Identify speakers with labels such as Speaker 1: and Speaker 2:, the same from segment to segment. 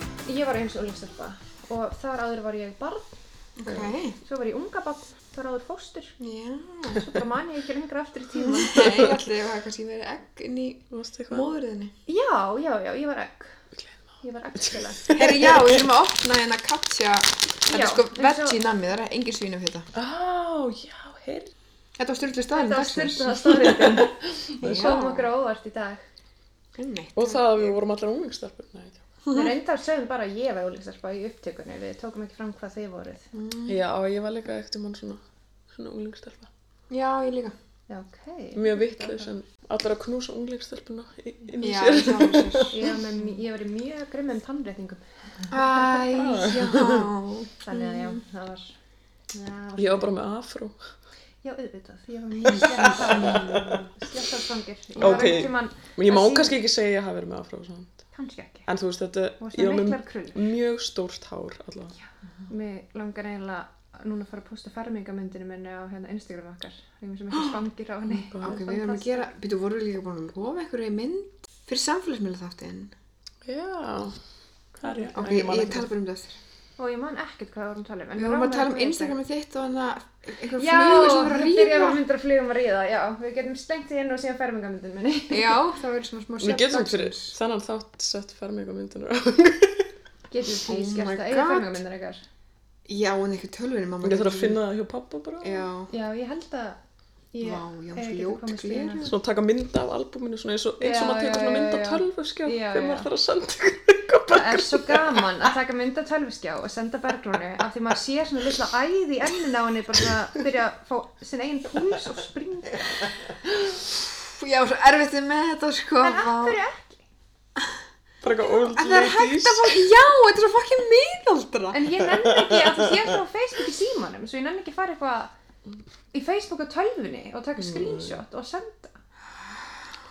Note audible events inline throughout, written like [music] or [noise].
Speaker 1: eins og unglingstelpa og þar áður var ég barn,
Speaker 2: Ok.
Speaker 1: svo var ég unga barn, þar áður fóstur,
Speaker 2: Já.
Speaker 1: svo bara man ég ekki lengra aftur í tíma.
Speaker 2: [laughs] Nei, allir það var kannski verið egg inn í
Speaker 3: Mástu eitthvað?
Speaker 2: móðurðinni.
Speaker 1: Já, já, já, ég var egg. Ég var eggskjöla.
Speaker 2: Herri, já, við erum að opna hérna kapsja. Þetta
Speaker 1: Já,
Speaker 2: er sko
Speaker 1: við sjáum-
Speaker 2: veggi nammi, það er engin svínum þetta.
Speaker 3: Á, já, heyrðu.
Speaker 2: Þetta var styrlu staðin
Speaker 1: Þetta var styrtaða stórriðin. Við
Speaker 2: Já.
Speaker 1: komum okkur á óvart í dag.
Speaker 3: Og það að við vorum allar unglingstarpur. Nei, já.
Speaker 1: Við reyndar sögum bara að ég var unglingstelpa í upptökunni, við tókum ekki fram hvað þið voruð.
Speaker 2: Mm.
Speaker 3: já, ég var líka eftir mann svona, svona unglingstarpa.
Speaker 2: Já, ég líka.
Speaker 1: Já, ok.
Speaker 3: Mjög vittlaus en allar að knúsa unglingstarpuna inn í
Speaker 2: Já,
Speaker 3: sér. [laughs]
Speaker 2: sjá
Speaker 1: [laughs]
Speaker 2: sér.
Speaker 1: Ég var, með, ég var í mjög grimmum tannréttingum,
Speaker 2: Æ,
Speaker 1: [laughs]
Speaker 2: já.
Speaker 1: þannig að já, það var... Já,
Speaker 3: Ég var bara með afró.
Speaker 1: Já, auðvitað, ég var mjög sléttarsvangir. Ég var
Speaker 3: Ok.
Speaker 1: ekki mann,
Speaker 3: Men ég má
Speaker 1: Það sé-
Speaker 3: kannski ekki segja að ég hafi verið með afró samt.
Speaker 1: kannski ekki.
Speaker 3: En þú veist þetta,
Speaker 1: Þú varst
Speaker 3: ég
Speaker 1: með
Speaker 3: var
Speaker 1: miklar
Speaker 3: með
Speaker 1: krull.
Speaker 3: mjög stórt hár allavega.
Speaker 1: Mér langar eiginlega núna að fara að posta fermingamyndinu minni á hérna Instagram okkar. Ég er mér sem ekki
Speaker 2: [gasps]
Speaker 1: svangir á henni.
Speaker 2: Ok, við erum að gera, býtu, voru við líka búin að lofa einhverju í mynd fyrir samfélagsmiðla þáttinn?
Speaker 3: Já, það er ég.
Speaker 2: Ok,
Speaker 3: En
Speaker 2: ég,
Speaker 3: man ekki.
Speaker 2: tala bara um þetta.
Speaker 1: Og ég man ekkert hvað við vorum að tala um. en
Speaker 2: Við
Speaker 1: mig
Speaker 2: vorum að
Speaker 1: langar
Speaker 2: tala um
Speaker 1: vita.
Speaker 2: Instagramið þitt og hann að einhverja
Speaker 1: Já,
Speaker 2: flugur sem var að
Speaker 1: það byrjaði að
Speaker 2: rýfa.
Speaker 1: mynda að flugum að ríða, já. Við getum slengt því inn og síðan fermingamyndinu
Speaker 2: [laughs]
Speaker 1: minni.
Speaker 2: Já, það verður svona smá
Speaker 3: Við getum fyrir
Speaker 2: dagsins.
Speaker 3: þennan þátt sett ferming á myndinu.
Speaker 1: Getum við
Speaker 2: Oh
Speaker 1: því
Speaker 2: my
Speaker 1: skert að
Speaker 2: God.
Speaker 1: eiga fermingamyndinu eitthvað.
Speaker 2: Já, en eitthvað tölvunum mamma.
Speaker 3: [laughs] Ég þarf að finna það hjá pappa bara.
Speaker 2: Já,
Speaker 1: Já, ég held að ég
Speaker 2: Vá,
Speaker 1: eh,
Speaker 2: já, svo
Speaker 1: geti
Speaker 2: ljót
Speaker 1: komist í hérna.
Speaker 2: gleru.
Speaker 3: Svona taka mynda af albúminu, svona eins og, eins
Speaker 1: Já,
Speaker 3: og
Speaker 1: já,
Speaker 3: maður tekur svona
Speaker 1: já,
Speaker 3: mynd af
Speaker 1: já.
Speaker 3: tölvuskjá
Speaker 1: Já,
Speaker 3: þegar
Speaker 1: já.
Speaker 3: maður þarf að senda ykkur [laughs] eitthvað
Speaker 1: Það
Speaker 3: bara.
Speaker 1: er svo gaman að taka mynd af tölviskjá og senda bergrúnu af því maður sér svona litla æði í ennin á henni bara svona að byrja að fá sinn eigin púls og springa.
Speaker 2: Já, svo erfitt er með þetta sko.
Speaker 1: En af
Speaker 2: vá.
Speaker 1: hverju ekki?
Speaker 3: Bara eitthvað old
Speaker 2: En það er
Speaker 3: ladies. [laughs]
Speaker 2: hægt að fá, já, þetta er svo fokkin miðaldra.
Speaker 1: En ég nenni ekki að því ég er svona á Facebook í símanum svo ég nenni ekki að fara eitthvað í Facebook á tölvunni og taka screenshot og senda.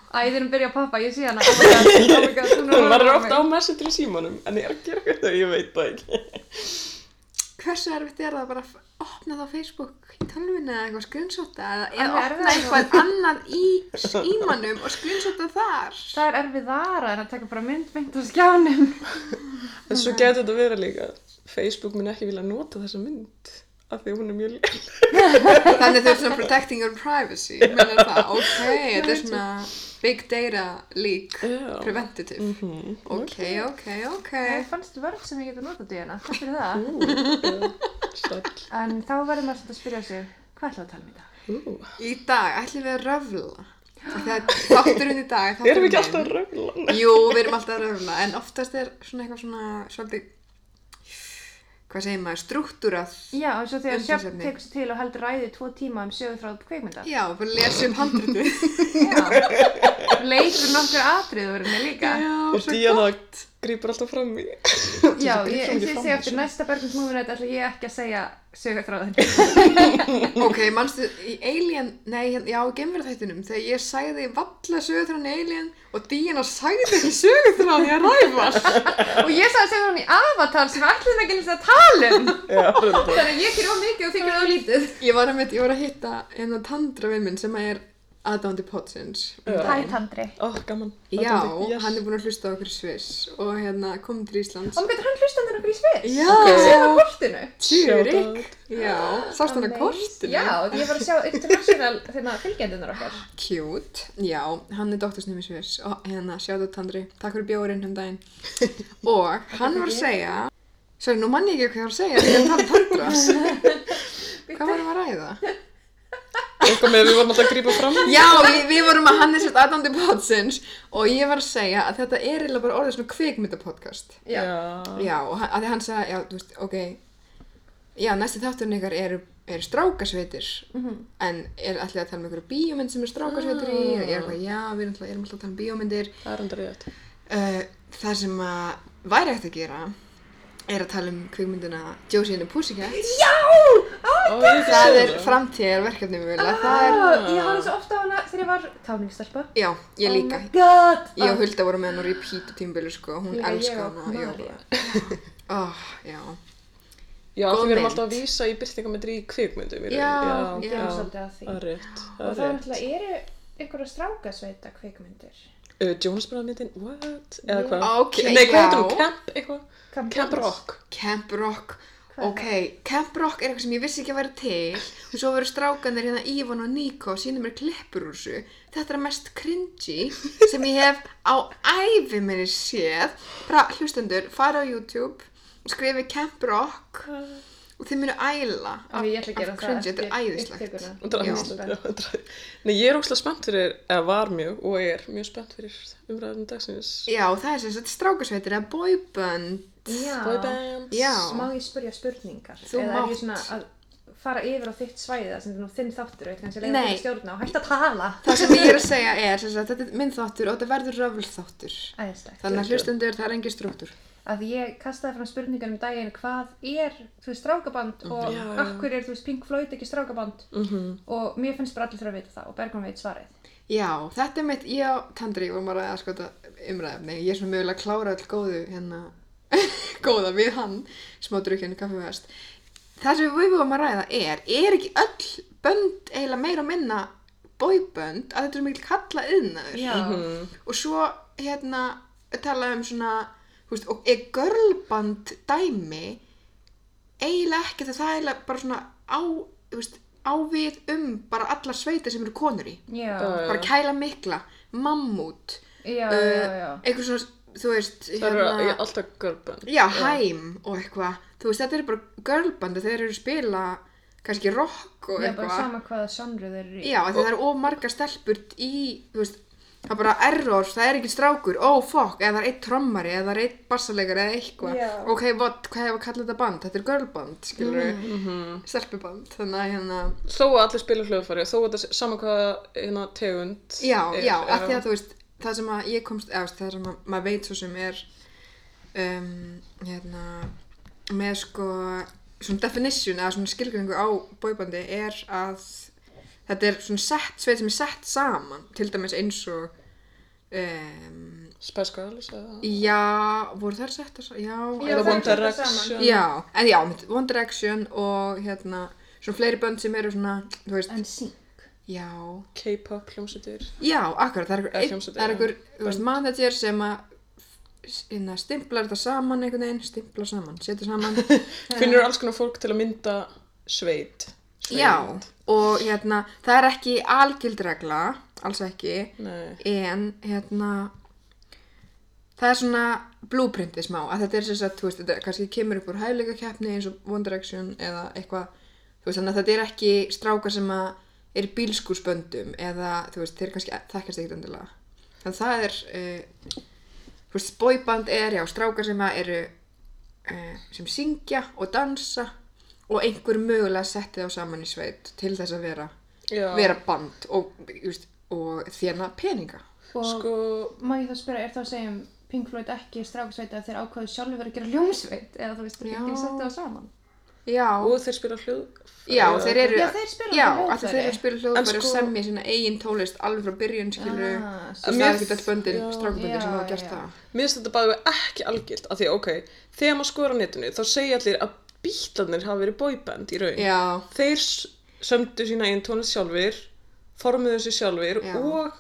Speaker 1: Æ, þeir eru að byrja að pappa, ég sé hana. Oh my god, oh my god, hún
Speaker 3: Maður er
Speaker 1: horfir
Speaker 3: ofta á
Speaker 1: mig.
Speaker 3: messenger í símanum, en ég er að gera eitthvað, ég veit það ekki.
Speaker 2: Hversu erfitt er það bara að opna það á Facebook í tölvunni eða eitthvað screenshota eða, eða
Speaker 1: Alveg erfiðara.
Speaker 2: opna eitthvað annað í símanum og screenshota þar.
Speaker 1: Það er erfið þara en að taka bara mynd mynd á skjánum.
Speaker 3: [laughs] En svo getur þetta verið líka, Facebook mun ekki vilja nota þessa mynd, af því að hún er mjög léleg.
Speaker 2: Þannig þau eru svona protecting your privacy, mennir
Speaker 1: [laughs]
Speaker 2: það, ok, þetta er svona big data leak,
Speaker 3: Já.
Speaker 2: preventative,
Speaker 3: Mhm.
Speaker 2: ok, ok, ok.
Speaker 1: Það Eh, fannst vörð sem ég getur notað í hana, takk fyrir það.
Speaker 3: Ú, já, Sæll.
Speaker 1: En þá verður maður svolítið að spyrja sig, hvað ætlaðu að tala um í dag?
Speaker 3: [laughs] Ú.
Speaker 2: Í dag ætlum við að röfla, þegar þátturinn í dag, þátturinn
Speaker 3: Erum við ekki
Speaker 2: minn-
Speaker 3: alltaf að röfla?
Speaker 2: Jú, við erum alltaf að röfla, en oftast er svona eitthvað svona, svolítið, hvað segir maður, struktúrað,
Speaker 1: Já, eins og þegar Sjöfn
Speaker 2: Umtalsefni.
Speaker 1: tekur sig til og heldur ræði í tvo tíma um sögufráð kveikmynda.
Speaker 2: já, bara lesum
Speaker 3: [laughs]
Speaker 2: handritu.
Speaker 1: Já. Leikur nokkur atriðurinni líka.
Speaker 3: Og Díana grýpur alltaf fram í.
Speaker 1: Já,
Speaker 3: Þú
Speaker 1: ég
Speaker 3: grípur ekki
Speaker 1: þið
Speaker 3: fram
Speaker 1: segja
Speaker 3: í
Speaker 1: eftir
Speaker 3: þessu.
Speaker 1: næsta Bergmans Movie Night ætla ég ekki að segja sögufráðin.
Speaker 2: Ok, mannstu í Alien, nei, hérna- já, gemverðættinum, þegar ég sagði valla sögurþrán í Alien og Díana sagði ekki sögurþrán í að ræfast.
Speaker 3: [laughs]
Speaker 1: og ég sagði sögufráðin í Avatar sem við ætlum ekki eins og að tala um.
Speaker 3: [laughs] Já, reyndar.
Speaker 1: Þannig að ég gerir of mikið og þið gerir of lítið.
Speaker 2: Ég var að, ég var að hitta hérna Tandra vinn minn sem er aðdándi Potsins.
Speaker 3: Já.
Speaker 1: Hæ, Tandri.
Speaker 3: Ó, gaman.
Speaker 2: Já,
Speaker 3: yes.
Speaker 2: hann er búinn að hlusta á okkur í Sviss og hérna kom til Íslands.
Speaker 1: Og mér hann hlustandi okkur í svið.
Speaker 2: Já,
Speaker 1: Sér það á kortinu.
Speaker 2: Tjúrik.
Speaker 3: Shoutout.
Speaker 2: Já, sást hann að kortinu.
Speaker 1: Já, ég var að sjá international þeirna fylgjendunar okkar.
Speaker 2: Cute, já, hann er doktorsnum í Sviss og hérna, sjáðu Tandri, takk fyrir bjórin um
Speaker 1: [laughs]
Speaker 2: daginn og hann var að segja Sorry, nú mann ég ekki hvað ég var að segja því að tala Tandras
Speaker 1: [laughs]
Speaker 2: Hvað vorum við að ræða?
Speaker 3: Eitthvað með að við vorum alltaf að grýpa fram í.
Speaker 2: Já, við, við vorum að hann er sért aðdándi potsins og ég var að segja að þetta er eiginlega bara orðið svona kvikmyndapodcast
Speaker 1: Já.
Speaker 2: Já, og hann, að því hann sagði, já, þú veist, ok Já, næsti þátturinn ykkar eru er strákasveitir
Speaker 1: Mhm.
Speaker 2: en er allir að tala um einhverju bíómynd sem er strákasveitir í og ég er eitthvað, já, við erum alltaf, erum alltaf að tala um bíómyndir
Speaker 3: Það er enda reyðat.
Speaker 2: Uh, það sem að væri hægt að gera er að tala um kvikmyndina Josie and the Pussycats
Speaker 1: Já!
Speaker 3: Ó, ég hef ekki
Speaker 2: það
Speaker 3: séð
Speaker 2: er
Speaker 3: það.
Speaker 2: framtíðarverkefni mjögulega það er,
Speaker 1: Ah, Ég hafði svo ofta á hana þegar ég var táningstelpa.
Speaker 2: já, ég líka
Speaker 1: Oh my god!
Speaker 2: ég og Hulda vorum með hann á repeat og tímbilu sko, hún
Speaker 1: Líka ég
Speaker 2: elskar
Speaker 1: og
Speaker 2: hana ég
Speaker 1: María.
Speaker 2: bara, [laughs] oh, já,
Speaker 3: Já,
Speaker 2: Góð
Speaker 3: því við erum
Speaker 2: mynd.
Speaker 3: alltaf að vísa í byrtingamindri í kvikmyndum í raun.
Speaker 2: Já,
Speaker 1: Ég
Speaker 2: já.
Speaker 1: var svolítið að því.
Speaker 3: Það er rétt.
Speaker 1: Og
Speaker 3: Það
Speaker 1: það
Speaker 3: er
Speaker 1: er
Speaker 3: rétt.
Speaker 1: náttúrulega eru ykkur að strákasveita kvikmyndir.
Speaker 3: uh, Jonas Brothers myndin, what? Eða hvað?
Speaker 2: Ok,
Speaker 3: Nei, hvað heitir hún?
Speaker 2: já.
Speaker 3: Camp eitthvað? Camp Rock.
Speaker 2: Camp Rock
Speaker 1: Hvað er
Speaker 2: Ok, Camp Rock er eitthvað sem ég vissi ekki að vera til og svo veru strákanir hérna Ívan og Níko sínum mér klippur úr þessu þetta er mest cringy sem ég hef á æfi minni séð bara hlustendur, fara á YouTube og skrifi Camp Rock og þið munu æla
Speaker 1: Af, ég ætla að gera það
Speaker 2: cringy, þetta er æðislegt
Speaker 1: upptökuna.
Speaker 3: Og það er
Speaker 2: Já.
Speaker 3: æðislegt, já, þetta er æðislegt. Nei, ég er óslega spennt fyrir, eða var mjög og er mjög spennt fyrir umræðum dagsins.
Speaker 2: Já, það er sem sagt strákasveitir eða boyband
Speaker 1: Já.
Speaker 3: Boy bands.
Speaker 2: Já.
Speaker 1: Má ég spyrja spurningar?
Speaker 2: Þú
Speaker 1: Eða er
Speaker 2: mátt.
Speaker 1: ég svona að fara yfir á þitt svæði það sem er nú þinn þáttur, veit kannski leiða
Speaker 2: Nei.
Speaker 1: þér að stjórna og hægt að tala.
Speaker 2: Það sem ég er að segja er sem sagt, þetta er minn þáttur og þetta verður röfl þáttur
Speaker 1: [laughs] Æðislegt.
Speaker 2: þannig að hlustendur það er engin struktúr
Speaker 1: Að ég kastaði fram spurningar um daginn hvað er, þú veist, strákaband og
Speaker 3: Já, já.
Speaker 1: okkur er, þú veist, Pink Floyd ekki strákaband
Speaker 2: Mhm.
Speaker 1: og mér finnst bara allir þurfa að vita það og Bergrún veit svarið.
Speaker 2: Já, þetta er mitt, ég og Tandri vorum að ræða sko þetta umræðefni, ég er svona mögulega að klára all góðu hérna, [laughs] góða við hann, hérna smá drukkinu kaffevest. Það sem við vorum að ræða er, er ekki öll bönd eiginlega meira og minna bóibönd að þetta er mikil kalla yðnaður?
Speaker 1: Já.
Speaker 3: Mhm.
Speaker 2: Og svo hérna tala um svona, þú veist, og er görlband dæmi eiginlega ekki það það er eiginlega bara svona á, þú veist, á við um bara alla sveita sem eru konur í
Speaker 1: Já.
Speaker 3: Já,
Speaker 2: bara kæla mikla, mammút
Speaker 1: Já,
Speaker 2: uh,
Speaker 1: já, já.
Speaker 2: einhver svona, þú veist hérna-
Speaker 3: Það eru já, alltaf görbönd.
Speaker 2: já, hæm og eitthvað þú veist, þetta eru bara girlbandi þeir eru að spila kannski rock og
Speaker 1: Já, bara
Speaker 2: eitthvað
Speaker 1: sama hvaða sönru þeir eru í.
Speaker 2: já, af því það eru of marga stelpur í þú veist, það er bara error það er ekki strákur, oh fuck, eða það er eitt trommari eða það er eitt bassalegar eða eitthvað
Speaker 1: Já.
Speaker 2: ok, what, hvað hefur að kalla þetta band, þetta er girlband skilur
Speaker 3: Mm.
Speaker 2: við, stelpuband þannig að hérna,
Speaker 3: Mhm. Þó að allir spila hljóðfæri, þó að þetta sé- sama hvað hérna tegund
Speaker 2: já,
Speaker 3: er,
Speaker 2: já, af því að þú veist það sem að ég komst, eða þú veist, það sem að maður veit svo sem er um, hérna með sko svona definition eða svona skilgringu á bóibandi er að þetta er svona sett, sveit sem er sett saman til dæmis eins og um,
Speaker 3: Spice Girls eða...
Speaker 2: já, voru þær sett að, já,
Speaker 1: Já,
Speaker 3: Eða
Speaker 1: þær
Speaker 3: One
Speaker 1: eru settar
Speaker 3: Direction.
Speaker 2: já, en já, mitt, One Direction og hérna svona fleiri bönd sem eru svona, þú veist,
Speaker 1: En sync.
Speaker 2: já
Speaker 3: K-pop
Speaker 2: [laughs]
Speaker 3: hljómsveitir.
Speaker 2: Já, akkurat, það er
Speaker 3: Eða
Speaker 2: einhver,
Speaker 3: hljómsveit,
Speaker 2: það er
Speaker 3: já.
Speaker 2: einhver þú veist, manager sem að inna, stimplar þetta saman einhvern veginn, stimplar saman, setur saman,
Speaker 3: [laughs] Finnur alls konar fólk til að mynda sveit. sveit.
Speaker 2: já, og hérna, það er ekki algild regla, alls ekki,
Speaker 3: Nei.
Speaker 2: en hérna, það er svona blúprintið smá, að þetta er sem sagt, þú veist, þetta kannski kemur upp úr hæfleika eins og One Direction eða eitthvað, þú veist, þannig að þetta er ekki strákar sem að er bílskúsböndum eða, þú veist, þeir kannski þekkast ekkert endilega. Þannig að það er, uh, þú veist, boyband er, já, strákar sem að eru, uh, sem syngja og dansa og einhver mögulega setti þá saman í sveit til þess að vera,
Speaker 3: Já.
Speaker 2: vera band og, þú veist, og þjána peninga.
Speaker 1: Og
Speaker 3: Sko,
Speaker 1: má ég þá spyrja, er það að segja um Pink Floyd ekki stráksveit að þeir ákvaðu sjálfur að gera ljómsveit eða þú veist,
Speaker 2: Já.
Speaker 1: ekki setja það saman?
Speaker 2: Já,
Speaker 3: og þeir spila hljóðfæri.
Speaker 2: já, þeir eru,
Speaker 1: Já, þeir spila
Speaker 2: já,
Speaker 1: hljóðfæri.
Speaker 2: af því þeir eru að spila
Speaker 3: En
Speaker 2: hljóðfæri og
Speaker 3: sko-
Speaker 2: semja sína eigin tónlist alveg frá byrjun, skilur,
Speaker 1: Ah,
Speaker 2: þú veist, það
Speaker 3: Mér-
Speaker 2: er ekki alltaf böndin,
Speaker 3: já.
Speaker 2: strákböndin sem
Speaker 1: Já,
Speaker 2: hafa gert
Speaker 1: já.
Speaker 2: það.
Speaker 3: Mér finnst þetta bæði ekki algilt, af því að, ok, þegar maður skoður á netinu þá segja allir að bítlarnir hafa verið boyband í raun.
Speaker 2: Já,
Speaker 3: Þeir s- sömdu sína einn tónlist sjálfur, formuðu sér sjálfur
Speaker 2: Já.
Speaker 3: og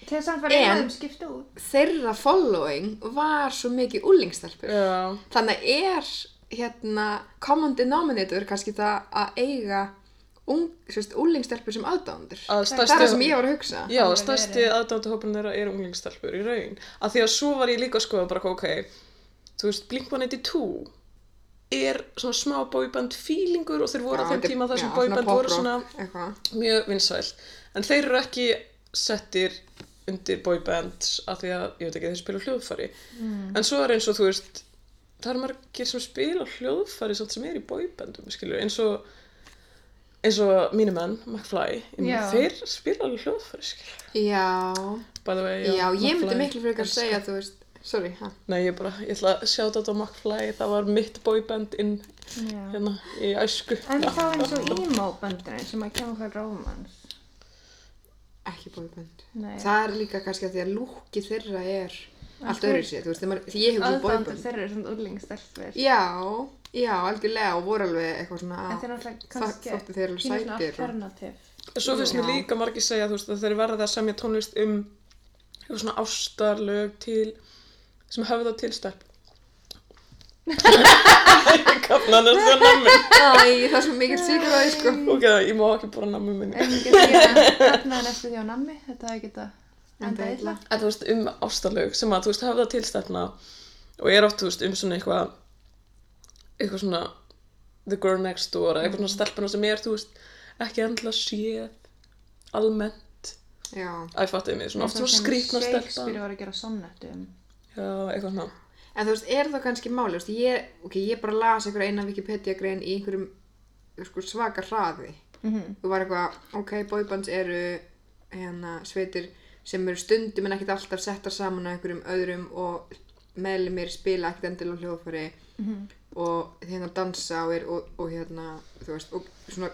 Speaker 1: Til þess að fara
Speaker 2: En-
Speaker 1: einaðum skipta út.
Speaker 2: þeirra following var svo mikið úlingstelpur.
Speaker 3: já,
Speaker 2: Þannig er hérna common denominator kannski það að eiga ung, sérst, úlingstelpur sem aðdándur.
Speaker 3: að
Speaker 1: Það er
Speaker 2: Það er það
Speaker 3: stærsti,
Speaker 2: sem ég var að hugsa.
Speaker 3: já,
Speaker 1: Alveg
Speaker 3: stærsti
Speaker 1: verið.
Speaker 3: aðdáttahópurinn þeirra er unglingstelpur í raun. Af því að svo var ég líka að skoða bara, ok, þú veist, Blink-182 er svona smá boyband feelingur og þeir voru á þeim
Speaker 2: þetta-
Speaker 3: tíma þar sem
Speaker 2: já, svona
Speaker 3: boyband voru
Speaker 2: poprock,
Speaker 3: svona
Speaker 2: Eitthvað.
Speaker 3: mjög vinsæl en þeir eru ekki settir undir boybands af því að, ég veit ekki, þeir spila á hljóðfæri
Speaker 2: Mm.
Speaker 3: en svo er eins og þú veist það eru margir sem spila á hljóðfæri samt sem er í boybandum, skilur eins og eins og mínu menn, McFly ég meina,
Speaker 1: Já.
Speaker 3: þeir spila alveg hljóðfæri, skilur
Speaker 2: Já,
Speaker 3: by the way,
Speaker 2: já, ég myndi
Speaker 3: McFly,
Speaker 2: miklu frekar
Speaker 3: elska.
Speaker 2: segja, þú veist, sorry, hæ?
Speaker 3: nei, ég bara, ég ætla að sjá þetta á McFly það var mitt boyband inn
Speaker 1: Já.
Speaker 3: hérna í æsku
Speaker 1: En þá eins og emo-böndurinn sem að kemur hvað rómans.
Speaker 2: Ekki bóibönd.
Speaker 1: Nei.
Speaker 2: Það er líka kannski að því að lúki þeirra er allt
Speaker 1: þú-
Speaker 2: öðru sér, þú veist, þegar maður- því ég hugsa um
Speaker 1: Aðdándur
Speaker 2: bóibönd.
Speaker 1: þeirra er svona úrlingstelfur.
Speaker 2: Já, já, algjörlega og voru alveg eitthvað svona
Speaker 1: En
Speaker 2: að...
Speaker 1: þeir eru náttúrulega
Speaker 2: Það-
Speaker 1: kannski
Speaker 2: þóttu þeir eru
Speaker 1: pínu svona
Speaker 2: sætir og-
Speaker 1: alternativ.
Speaker 3: Svo finnst mér
Speaker 2: Já.
Speaker 3: líka margir segja þú veist, að þeir verða að semja tónlist um eitthvað svona ástarlög til sem höfða til
Speaker 2: [laughs]
Speaker 3: stelp ég kafna hann að það nammi
Speaker 2: Æ, það er svo mikill sigur á því, sko.
Speaker 3: ok, ég má ekki bara nammi
Speaker 2: [laughs]
Speaker 3: minni
Speaker 1: En ég get ekki að hefna næstu því á nammi, þetta hefði geta
Speaker 2: Enda
Speaker 1: enda
Speaker 2: illa.
Speaker 1: illa.
Speaker 3: en þú veist um ástarlög sem að þú veist höfða til stelpna og er oft þú veist um svona eitthvað eitthvað svona the girl next door eða
Speaker 1: Mm.
Speaker 3: eitthvað svona stelpuna sem er þú veist ekki endla séð almennt
Speaker 2: Já.
Speaker 3: Æ, fattuði mig, svona oft svona skrýtna
Speaker 1: Shakespeare
Speaker 3: stelpa
Speaker 1: var að gera sonnetu um.
Speaker 3: Já, eitthvað svona
Speaker 2: En þú veist, er það kannski máli, þú veist, ég, ok, ég bara las einhver eina Wikipedia-grein í einhverjum sko, svaka hraði.
Speaker 1: Mhm.
Speaker 2: Þú var eitthvað, ok, boybands eru hérna, sveitir sem eru stundum en ekkert alltaf settar saman á einhverjum öðrum og meðlumir spila ekkert endilega á hljóðfæri og hérna dansa og, er, og, og hérna, þú veist, og svona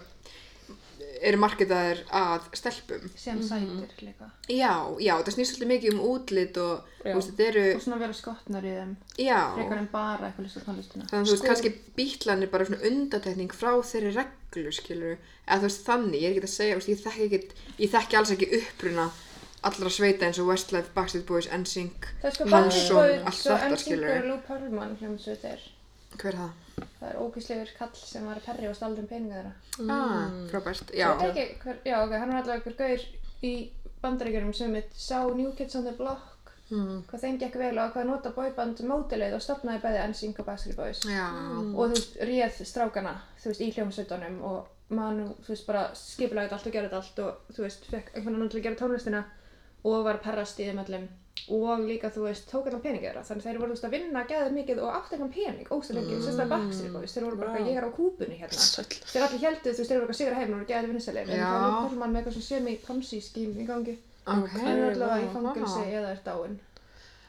Speaker 2: eru marketaðir að stelpum.
Speaker 1: sem
Speaker 3: Mhm.
Speaker 1: sætir líka.
Speaker 2: Já, já, það snýst svolítið mikið um útlit og,
Speaker 3: Já.
Speaker 2: þú veist, þetta eru,
Speaker 1: Og svona vera skotnar í þeim,
Speaker 2: já.
Speaker 1: frekar en bara eitthvað lista tónlistina.
Speaker 2: Þannig að þú veist, kannski bítlan er bara svona undatekning frá þeirri reglu, skilur eða þú veist, þannig, ég er ekki að segja, þú veist, ég þekki ekki, ég þekki alls ekki uppruna allra sveita eins og Westlife, Backstreet Boys, NSYNC,
Speaker 1: Það er sko Bandit
Speaker 2: Manson, allt
Speaker 1: Boys og
Speaker 2: þetta,
Speaker 1: Ensingur
Speaker 2: skilur
Speaker 1: Lou Pearlman hljómsveit er.
Speaker 2: Hver er það?
Speaker 1: Það er ógíslegur kall sem var að perri og staldra um peninga þeirra.
Speaker 2: Ah, frábært, já.
Speaker 1: Ég veit ekki hver, já ok, hann var allavega einhver gaur í bandaríkjörum sem mitt sá New Kids on the Block
Speaker 2: Hmm.
Speaker 1: mm. hvað þeim gekk vel og hvað nota boyband mótilegð og stopnaði bæði NSYNC og Backstreet Boys
Speaker 2: Já,
Speaker 1: og þú veist, réð strákana þú veist, í hljómsveitunum og manu, þú veist, bara skipulaði þetta allt og gerði þetta allt og þú veist, fekk einhvern annan til að gera tónlistina og var að perrast í þeim öllum og líka, þú veist, tók allan pening þeirra þannig þeir voru, þú veist, að vinna gæðið mikið og átt einhvern pening, óstæðleikið, mm. sérstaklega Backstreet Boys þeir voru bara,
Speaker 3: Vá.
Speaker 1: wow. ég er á kúpunni hérna
Speaker 3: Sæll
Speaker 1: þeir allir heldur, þú veist, þeir voru eitthvað sigra heim og voru gæðið vinnselir, en
Speaker 2: Já.
Speaker 1: það var Pálmann með eitthvað semi-ponsi skím í gangi
Speaker 2: ok.
Speaker 1: hann er allavega í
Speaker 3: vá.
Speaker 1: fangelsi eða er dáinn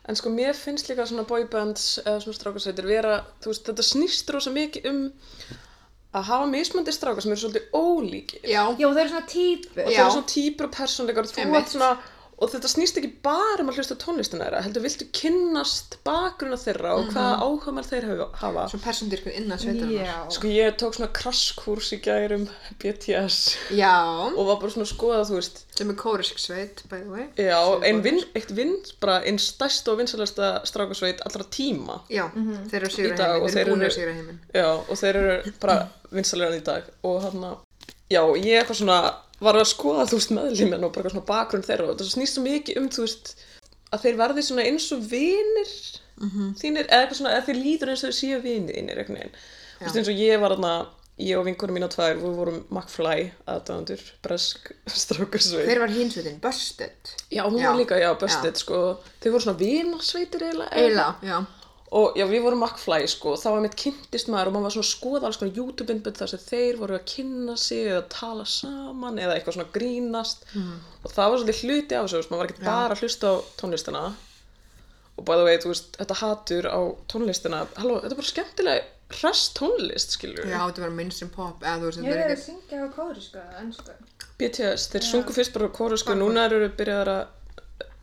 Speaker 3: En sko mér finnst líka svona boybands eða svona strákarsveitir vera, þú veist, þetta snýst rosa mikið um að hafa mismandi strákar sem eru svolítið ólíkir
Speaker 2: Já,
Speaker 1: já, og það eru svona típur
Speaker 3: og það
Speaker 2: Já.
Speaker 3: eru svona típur og persónleikar og þú
Speaker 2: Einmitt.
Speaker 3: ert svona og þetta snýst ekki bara um að hlusta á tónlistina þeirra heldur viltu kynnast bakgrunna þeirra og
Speaker 2: Mhm.
Speaker 3: hvaða áhugamál þeir hafa- hafa
Speaker 2: svo persóndirkur innan sveitarinnar.
Speaker 1: já,
Speaker 3: Sko ég tók svona krasskurs í um gærum BTS
Speaker 2: Já,
Speaker 3: og var bara svona að skoða, þú veist
Speaker 2: sem er kórisk sveit, by the way.
Speaker 3: Já, ein vin, eitt vinn, bara einn stærst og vinsalasta strákarsveit allra tíma
Speaker 2: Já,
Speaker 1: Mhm.
Speaker 2: þeir eru að
Speaker 3: Í
Speaker 2: sigra
Speaker 3: dag,
Speaker 2: heiminn,
Speaker 3: og
Speaker 2: þeir
Speaker 3: þeir
Speaker 2: eru búin
Speaker 3: eru-
Speaker 2: að sigra heiminn.
Speaker 3: Já, og þeir eru bara vinsalega í dag og hann já, ég eitthvað svona var að skoða þú veist meðlíminn og bara eitthvað svona bakgrunn þeirra og það snýst svo mikið um þú veist að þeir verði svona eins og vinir þínir, eða eitthvað svona, eða þeir líður eins og þeir séu vinir þínir eitthvað neginn þú veist eins og ég var þarna, ég og vinkunum mína tvær við vorum McFly aðdæðandur bresk strákarsveit
Speaker 2: Hver var hinsveitin? Busted?
Speaker 3: já, hún
Speaker 2: Já.
Speaker 3: var líka, já, bestið, sko þeir voru svona vinarsveitir eiginlega
Speaker 2: Eila, já.
Speaker 3: og já, við vorum McFly sko, þá var mitt kynntist maður og maður var svona að skoða alls konar YouTube-innbund þar sem þeir voru að kynna sig eða tala saman eða eitthvað svona grínast og það var svolítið hluti af þessu, þú veist, maður var ekki bara að hlusta á tónlistina og by the way, þú veist, þetta hatur á tónlistina, halló, þetta er bara skemmtilega hress tónlist, skilur
Speaker 2: Já, þetta var mainstream pop, eða þú veist,
Speaker 1: ég
Speaker 2: þetta
Speaker 1: er
Speaker 2: er
Speaker 1: að
Speaker 2: ekki...
Speaker 1: syngja á kóri sko, ennsku
Speaker 3: BTS, þeir sungu fyrst bara á kóru sko, núna eru þeir byrjað að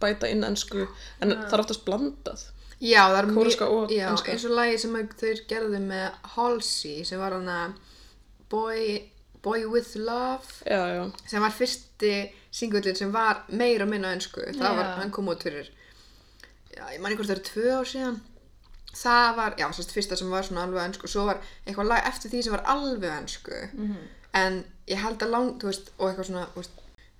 Speaker 3: bæta inn ennsku, en það er oftast blandað
Speaker 2: Já, það er
Speaker 3: Kóreska og
Speaker 2: já,
Speaker 3: enska.
Speaker 2: eins og lagi sem að þeir gerðu með Halsey sem var hann að Boy, Boy with Love
Speaker 3: já, já,
Speaker 2: sem var fyrsti singullin sem var meira og minna á ensku það var,
Speaker 1: Já.
Speaker 2: hann kom út fyrir já, ég manni hvort það eru tvö ár síðan það var, já, sérst fyrsta sem var svona alveg á ensku, svo var eitthvað lag eftir því sem var alveg á ensku -hmm. en ég held að lang, þú veist, og eitthvað svona þú veist,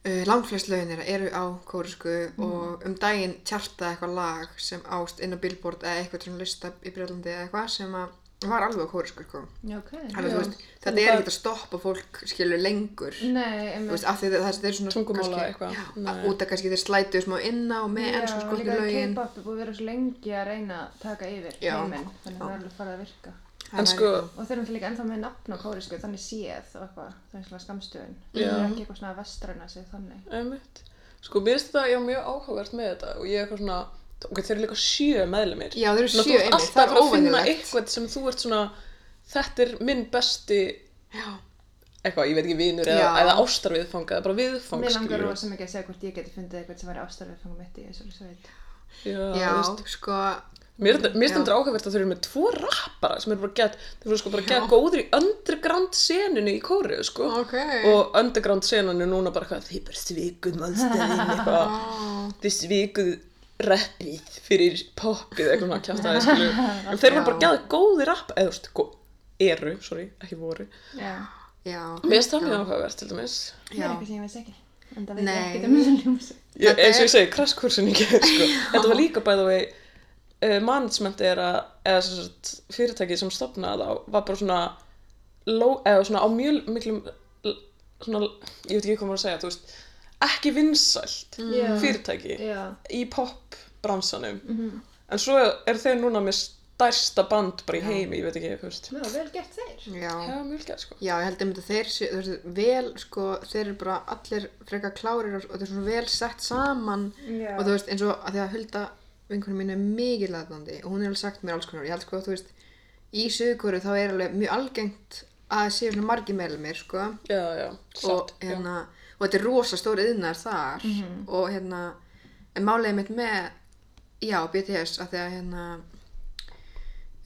Speaker 2: uh, langflest lögin þeirra eru á kórisku og um daginn tjarta eitthvað lag sem ást inn á billboard eða eitthvað svona lista í Breitlandi eða eitthvað sem að var alveg á kórisku sko.
Speaker 1: já, ok
Speaker 2: Þannig að þú
Speaker 1: Já.
Speaker 2: veist, þetta er ekkert að stoppa fólk skilur lengur
Speaker 1: nei,
Speaker 2: þú
Speaker 1: emmi
Speaker 2: veist, af því að það það er svona
Speaker 3: Tungumála
Speaker 2: kannski-
Speaker 3: eitthvað.
Speaker 2: já,
Speaker 3: Nei.
Speaker 2: að- út af kannski þeir slætu smá inn á með ennsku
Speaker 1: Já,
Speaker 2: skotnu
Speaker 1: líka
Speaker 2: lögin
Speaker 1: K-pop er búið að vera svo lengi að reyna að taka yfir
Speaker 2: Já.
Speaker 1: heiminn, þannig að það er alveg farið að virka.
Speaker 2: Það
Speaker 3: en
Speaker 2: væri
Speaker 3: sko,
Speaker 2: eitthvað.
Speaker 1: Og þeir eru náttúrulega líka ennþá með nafn á kórisku, þannig séð og eitthvað, það er svona skamstöðun.
Speaker 3: Já.
Speaker 1: Það er ekki eitthvað svona vestræna sig þannig.
Speaker 3: Einmitt. Sko, mér finnst þetta, ég var mjög áhugavert með þetta og ég er eitthvað svona, ok, þeir eru líka sjö meðlumir.
Speaker 2: Já, þeir eru sjö,
Speaker 3: Þú ert
Speaker 2: einmitt,
Speaker 3: alltaf
Speaker 2: það er
Speaker 3: bara að finna
Speaker 2: óvenjulegt.
Speaker 3: eitthvað sem þú ert svona, þetta er minn besti,
Speaker 2: já,
Speaker 3: eitthvað, ég veit ekki, vinur eða,
Speaker 2: Já.
Speaker 3: eða ástarviðfanga, eða bara viðfang,
Speaker 1: Mér langar
Speaker 3: skilurðu.
Speaker 1: rosa mikið að segja hvort ég geti fundið eitthvað sem væri ástarfið fangum mitt í þessu sveit.
Speaker 3: Já,
Speaker 2: já,
Speaker 3: þú veist.
Speaker 2: sko
Speaker 3: Mér finnst- mér
Speaker 2: Já.
Speaker 3: finnst þetta áhugavert að þeir eru með tvo rappara sem eru bara gett, þeir eru sko bara gett góðir í underground seninu í kóriðu, sko.
Speaker 2: ok
Speaker 3: Og underground senan er núna bara hvað, þið bara svikuð mannstæðin eitthvað, þið svikuð rappið fyrir poppið eitthvað svona kjátt aðeins skilur en þeir voru bara gæðið góði rapp eða þú veist, gó- eru, sorry, ekki voru
Speaker 1: Já,
Speaker 2: já,
Speaker 3: mér finnst það mjög áhugavert til dæmis
Speaker 1: það er
Speaker 2: já,
Speaker 1: eitthvað sem ég veist ekki. En það veit ég
Speaker 2: Nei.
Speaker 1: ekkert um þessu ljómsu.
Speaker 3: ég,
Speaker 2: Þetta
Speaker 3: eins og
Speaker 2: er-
Speaker 3: ég segi, krasskursin í gerð sko. þetta var líka bæða vei uh, management er að eða, sem sagt, fyrirtækið sem stopnaði þá var bara svona, ló, eða, svona á mjög miklum l- svona, ég veit ekki hvað maður að segja þú veist, ekki vinsælt
Speaker 1: Já.
Speaker 3: fyrirtæki
Speaker 1: Já.
Speaker 3: í pop bransanum en svo er þeir núna með stærsta band bara í heimi, ég veit ekki þú veist.
Speaker 1: Já, vel gert þeir.
Speaker 2: já.
Speaker 3: Já, mjög gæð sko
Speaker 2: Já, ég held einmitt að þeir séu, þú veist, vel, sko, þeir eru bara allir frekar klárir og, og þeir eru svona vel sett saman
Speaker 1: Já.
Speaker 2: og þú veist, eins og að því að Hulda vinkunum mín er mikið laðnandi og hún er alveg sagt mér alls konar, ég held sko, þú veist, í sögurkóru þá er alveg mjög algengt að séu svona margir meðlumir, sko,
Speaker 3: Já, já,
Speaker 2: og,
Speaker 3: satt já. Mhm.
Speaker 2: hérna, og þetta er rosa stóri yðnar þar og hérna, en málega mitt með, já, BTS, að því að hérna,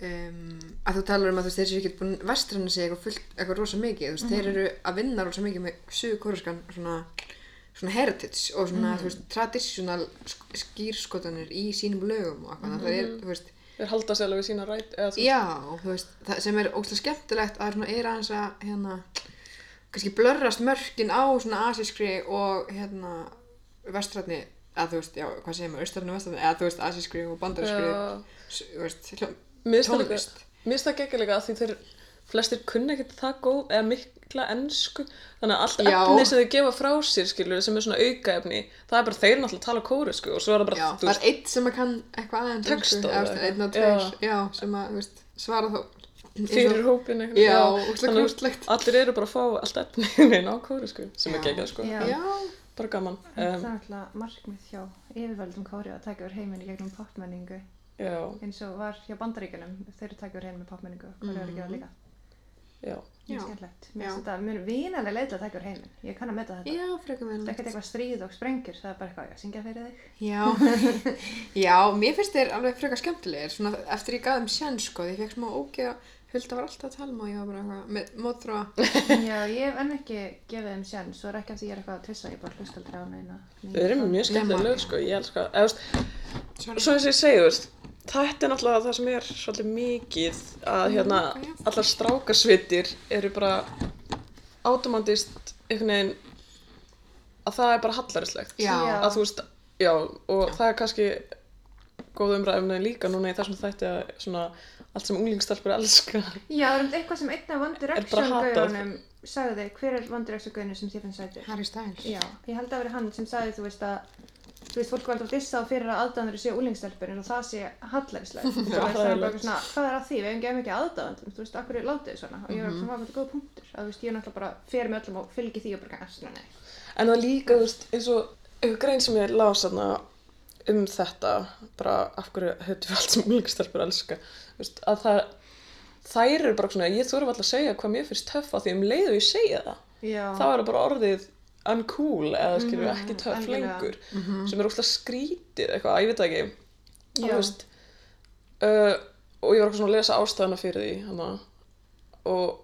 Speaker 2: um, að þú talar um að þú veist, þeir séu ekki búin vestrannu sig eitthvað, fullt, eitthvað rosa mikið, þú veist,
Speaker 3: Mhm.
Speaker 2: þeir eru að vinna rosa mikið með suðkóraskan svona, svona heritage og svona,
Speaker 3: Mhm.
Speaker 2: þú veist, traditional sk- skýrskotanir í sínum lögum og eitthvað, mm það
Speaker 3: Mhm.
Speaker 2: er, þú veist,
Speaker 3: þeir halda sér alveg við sína ræt eða, þú veist,
Speaker 2: já, þú veist, það sem er ógstlega skemmtilegt að svona er aðeins að, hérna, kannski blörrast mörkin á svona asískri og, hérna, vestranni, að þú veist, já, hvað segir maður, austrarni og vestranni, eða þú veist, asískri og bandarískri,
Speaker 3: Já.
Speaker 2: s- þú veist, hljó-
Speaker 3: Mér finnst það líka-
Speaker 2: tónlist.
Speaker 3: mér finnst það geggjulegt að því þeir flestir kunna ekkert það góð eða mikla ennsku þannig að allt
Speaker 2: Já.
Speaker 3: efni sem þeir gefa frá sér skilur sem er svona aukaefni það er bara þeir náttúrulega að tala kóru sko og svo er það bara
Speaker 2: Já,
Speaker 3: þú
Speaker 2: það er
Speaker 3: veist
Speaker 2: eitt sem að kann eitthvað aðeins
Speaker 3: Texta
Speaker 2: ensku,
Speaker 3: eða
Speaker 2: eða, þú veist,
Speaker 3: eitthvað.
Speaker 2: einn og tveir, já, sem að, þú veist, svara þó eins og-
Speaker 3: fyrir hópin eitthvað
Speaker 2: Já,
Speaker 3: Já,
Speaker 2: ógeðslega
Speaker 3: þannig að
Speaker 2: krúttlegt.
Speaker 3: allir eru bara að fá allt efni [laughs] inn á kóru sko sem
Speaker 2: Já.
Speaker 3: er geggjað sko
Speaker 1: Já.
Speaker 2: Já,
Speaker 3: bara gaman
Speaker 1: Það er
Speaker 3: um,
Speaker 1: alltaf markmið hjá yfirvöldum kóri að taka yfir heiminn í gegnum popmenningu
Speaker 3: já,
Speaker 1: eins og var hjá bandaríkunum þeir taka yfir heiminn með popmenningu og kóri að gera líka.
Speaker 3: já,
Speaker 1: Mjög
Speaker 2: Mhm. já,
Speaker 1: skemmtilegt. Mér
Speaker 2: Já.
Speaker 1: finnst þetta mjög vinalega leið til að taka yfir heiminn. Ég kann að meta þetta.
Speaker 2: já, frekar
Speaker 1: Það er
Speaker 2: meðan
Speaker 1: ekkert eitthvað stríð og sprengjur, það er bara eitthvað ég að syngja fyrir
Speaker 2: [laughs]
Speaker 1: þig.
Speaker 3: [laughs]
Speaker 2: Já, já, mér finnst þeir alveg frekar skemmtilegir, svona eftir ég gaf þeim sjans, sko, því ég fekk smá ógeða, Hulda var alltaf að tala um og ég var bara eitthvað, með mótrúa,
Speaker 1: Já, ég hef enn ekki gefið þeim sjans, svo er ekki af því ég er eitthvað að tvissa, ég bara hlusta aldrei á neina.
Speaker 3: þeir eru mjög skemmtilega
Speaker 2: Nema.
Speaker 3: lög sko ég elska, eða þú veist
Speaker 2: sorry,
Speaker 3: Svo eins og ég segi, þú veist, þetta er náttúrulega það sem er svolítið mikið að hérna allar strákarsvitir eru bara automatist einhvern veginn að það er bara hallarislegt.
Speaker 2: já,
Speaker 1: Já.
Speaker 3: Að þú veist, já, og það er kannski góð umræðumni líka núna í þessum þætti að svona allt sem unglingstelpur elska.
Speaker 1: Já, það er um eitthvað sem einn af One Direction
Speaker 3: hatað.
Speaker 1: gauðunum sagði, hver er One Direction gauðunum sem þér finnst sætir?
Speaker 2: Harry Styles,
Speaker 1: Já, ég held að vera hann sem sagði, þú veist að, þú veist, fólk var alltaf að dissa á fyrir að aðdáðandur séu úlingstelpur en það sé
Speaker 3: [laughs]
Speaker 1: hallarinslegt. Þú veist, það er bara eitthvað svona, hvað er að því, við hefum gefið mikið aðdáðandum, þú veist, akkur er látið svona og ég
Speaker 3: Mhm.
Speaker 1: var svona, það var bara góð punktur, að þú veist, ég náttúrulega bara fer með öllum og fylgi því og bara, "Ah, svona, nei."
Speaker 3: En það líka, þú veist, eins og einhver grein sem ég las þarna um þetta, bara af hverju höfðum við allt sem unglingstelpur elska, þú veist, að það, þær eru bara svona, ég þurfa alltaf að segja hvað mér finnst töff að því um leið og ég segja það,
Speaker 1: Já.
Speaker 3: þá er það bara orðið uncool eða skilur ekki töff
Speaker 1: Mhm, algjörlega.
Speaker 3: lengur, sem er úrslega skrítið eitthvað, ég veit það ekki,
Speaker 1: Já.
Speaker 3: þú veist, uh, og ég var eitthvað svona að lesa ástæðana fyrir því, hana, og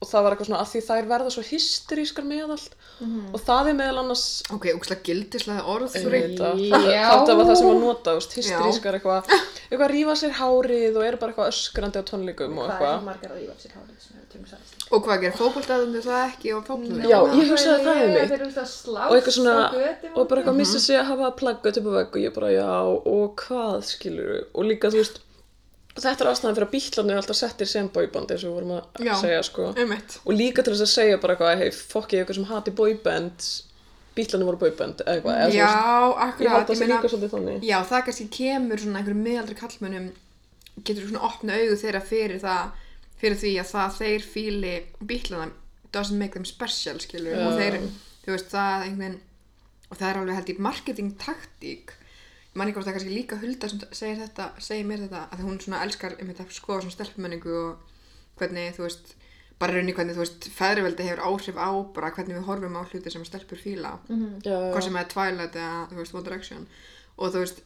Speaker 3: og það var eitthvað svona að því þær verða svo hysterískar með allt
Speaker 1: Mhm.
Speaker 3: og það er meðal annars
Speaker 2: ok, ógstlega gildislega orð,
Speaker 3: Ég
Speaker 2: sorry,
Speaker 3: veit að-
Speaker 1: Já.
Speaker 3: Þetta var [laughs] það sem var notað, þú veist, hysterískar
Speaker 2: Já.
Speaker 3: eitthvað, eitthvað að rífa sér hárið og eru bara eitthvað öskrandi á tónleikum og
Speaker 1: Hvað er
Speaker 3: eitthvað.
Speaker 1: margar að rífa af sér hárið sem hefur tömur sæðist?
Speaker 2: og hvað gerir fókbaltaðum þau það ekki og fókbaltaðum?
Speaker 3: Já, ég hugsaði það einmitt.
Speaker 1: Þeir eru að slást
Speaker 3: Og eitthvað
Speaker 1: á Mhm.
Speaker 3: svona,
Speaker 1: götum
Speaker 3: og bara eitthvað missa sig að hafa plaggat upp á vegg og ég bara, já, og hvað, skilur og líka, þú veist, þetta er ástæðan fyrir að bílarnir er alltaf settir sem bóiband eins og við vorum að
Speaker 2: Já. Um.
Speaker 3: segja, sko.
Speaker 2: Einmitt.
Speaker 3: Og líka til þess að segja bara eitthvað, hei, fokkið eitthvað sem hati bóiband, bílarnir voru bóiband, eitthvað, eða þú
Speaker 2: Já,
Speaker 3: veist,
Speaker 2: akkurat,
Speaker 3: ég held að það sé
Speaker 2: meina-
Speaker 3: líka svolítið þannig.
Speaker 2: Já, það kannski kemur svona einhverjum miðaldri kallmönnum getur svona opna augu þeirra fyrir það fyrir því að það þeir fíli bílana doesn't make them special skilur og þeir, þú veist, það einhvern og það er alveg held í marketing taktík ég man ekki hvort það er kannski líka hulda sem segir þetta, segir mér þetta að hún svona elskar, einmitt að skoða svona stelpmenningu og hvernig, þú veist bara raunni hvernig, þú veist, feðriveldi hefur áhrif á bara hvernig við horfum á hluti sem stelpur fíla
Speaker 3: Já, já.
Speaker 2: hvort sem er Twilight eða þú veist, One Direction og þú veist,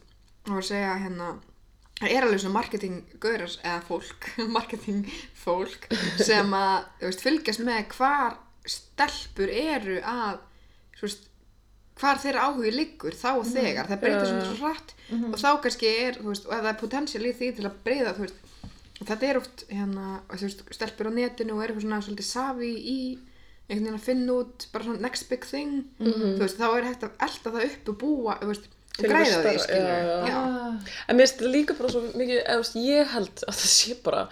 Speaker 2: þá var að segja hérna það er alveg svona marketing gaurar eða fólk, [laughs] marketing fólk sem að, þú veist, fylgjast með hvar stelpur eru að, þú veist hvar þeirra áhugi liggur þá og þegar, það breytir
Speaker 3: Mhm. Já.
Speaker 2: svona svo rætt og þá kannski er, þú veist, og ef það er potensial í því til að breyða, þú veist og þetta er oft, hérna, og þú veist, stelpur á netinu og er eitthvað svona svolítið safi í einhvern veginn að finna út, bara svona next big thing, þú veist, þá er hægt að elta það upp og búa, þú veist, og
Speaker 3: Mhm. Til
Speaker 2: græða
Speaker 3: einhvers
Speaker 2: því,
Speaker 3: stærra-
Speaker 2: skilur
Speaker 3: já, já.
Speaker 2: já,
Speaker 1: Ah,
Speaker 3: En mér finnst þetta líka bara svo mikið, eða þú veist, ég held að það sé bara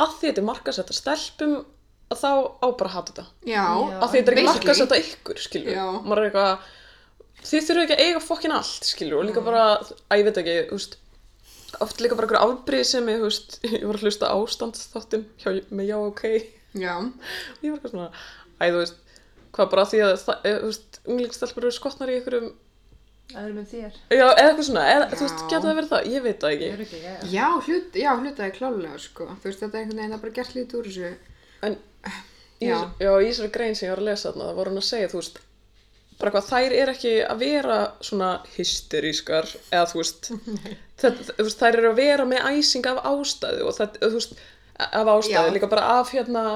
Speaker 3: að því þetta er markasett að stelpum að þá á bara að hata þetta.
Speaker 2: já,
Speaker 1: Já.
Speaker 3: Að því þetta er ekki
Speaker 2: Basically.
Speaker 3: markasett að ykkur, skilur.
Speaker 2: Já.
Speaker 3: Maður er eitthvað, þið þurfum ekki að eiga fokkin allt, skilur. Og líka bara, að ég veit ekki, þú veist, oft líka bara einhver afbrið sem ég, þú veist, [laughs] ég var að hlusta á ástandsþáttin hjá, með já, ok. [laughs]
Speaker 2: já,
Speaker 3: Ég var eitthvað svona, æ, þú veist, hvað bara því að, það- eh, þú veist, unglingstelpur eru skotnar í ykkurum,
Speaker 1: Það er með þér.
Speaker 3: já, eða eitthvað svona, eða, þú veist,
Speaker 2: Já.
Speaker 3: getur það verið það? Ég veit það ekki.
Speaker 1: Ég er ekki, já, já.
Speaker 2: já, hlut, já, hlutaði klálega, sko, þú veist, þetta er einhvern veginn að bara gert lítið úr þessu,
Speaker 3: En í,
Speaker 2: Já.
Speaker 3: já, í þessari grein sem ég var að lesa þarna, það voru hann að segja, þú veist, bara hvað, þær er ekki að vera svona hysterískar, eða
Speaker 2: [laughs]
Speaker 3: þú veist, það, þú veist, þær eru að vera með æsing af ástæðu og það, þú veist, af ástæðu,
Speaker 2: Já.
Speaker 3: líka bara af hérna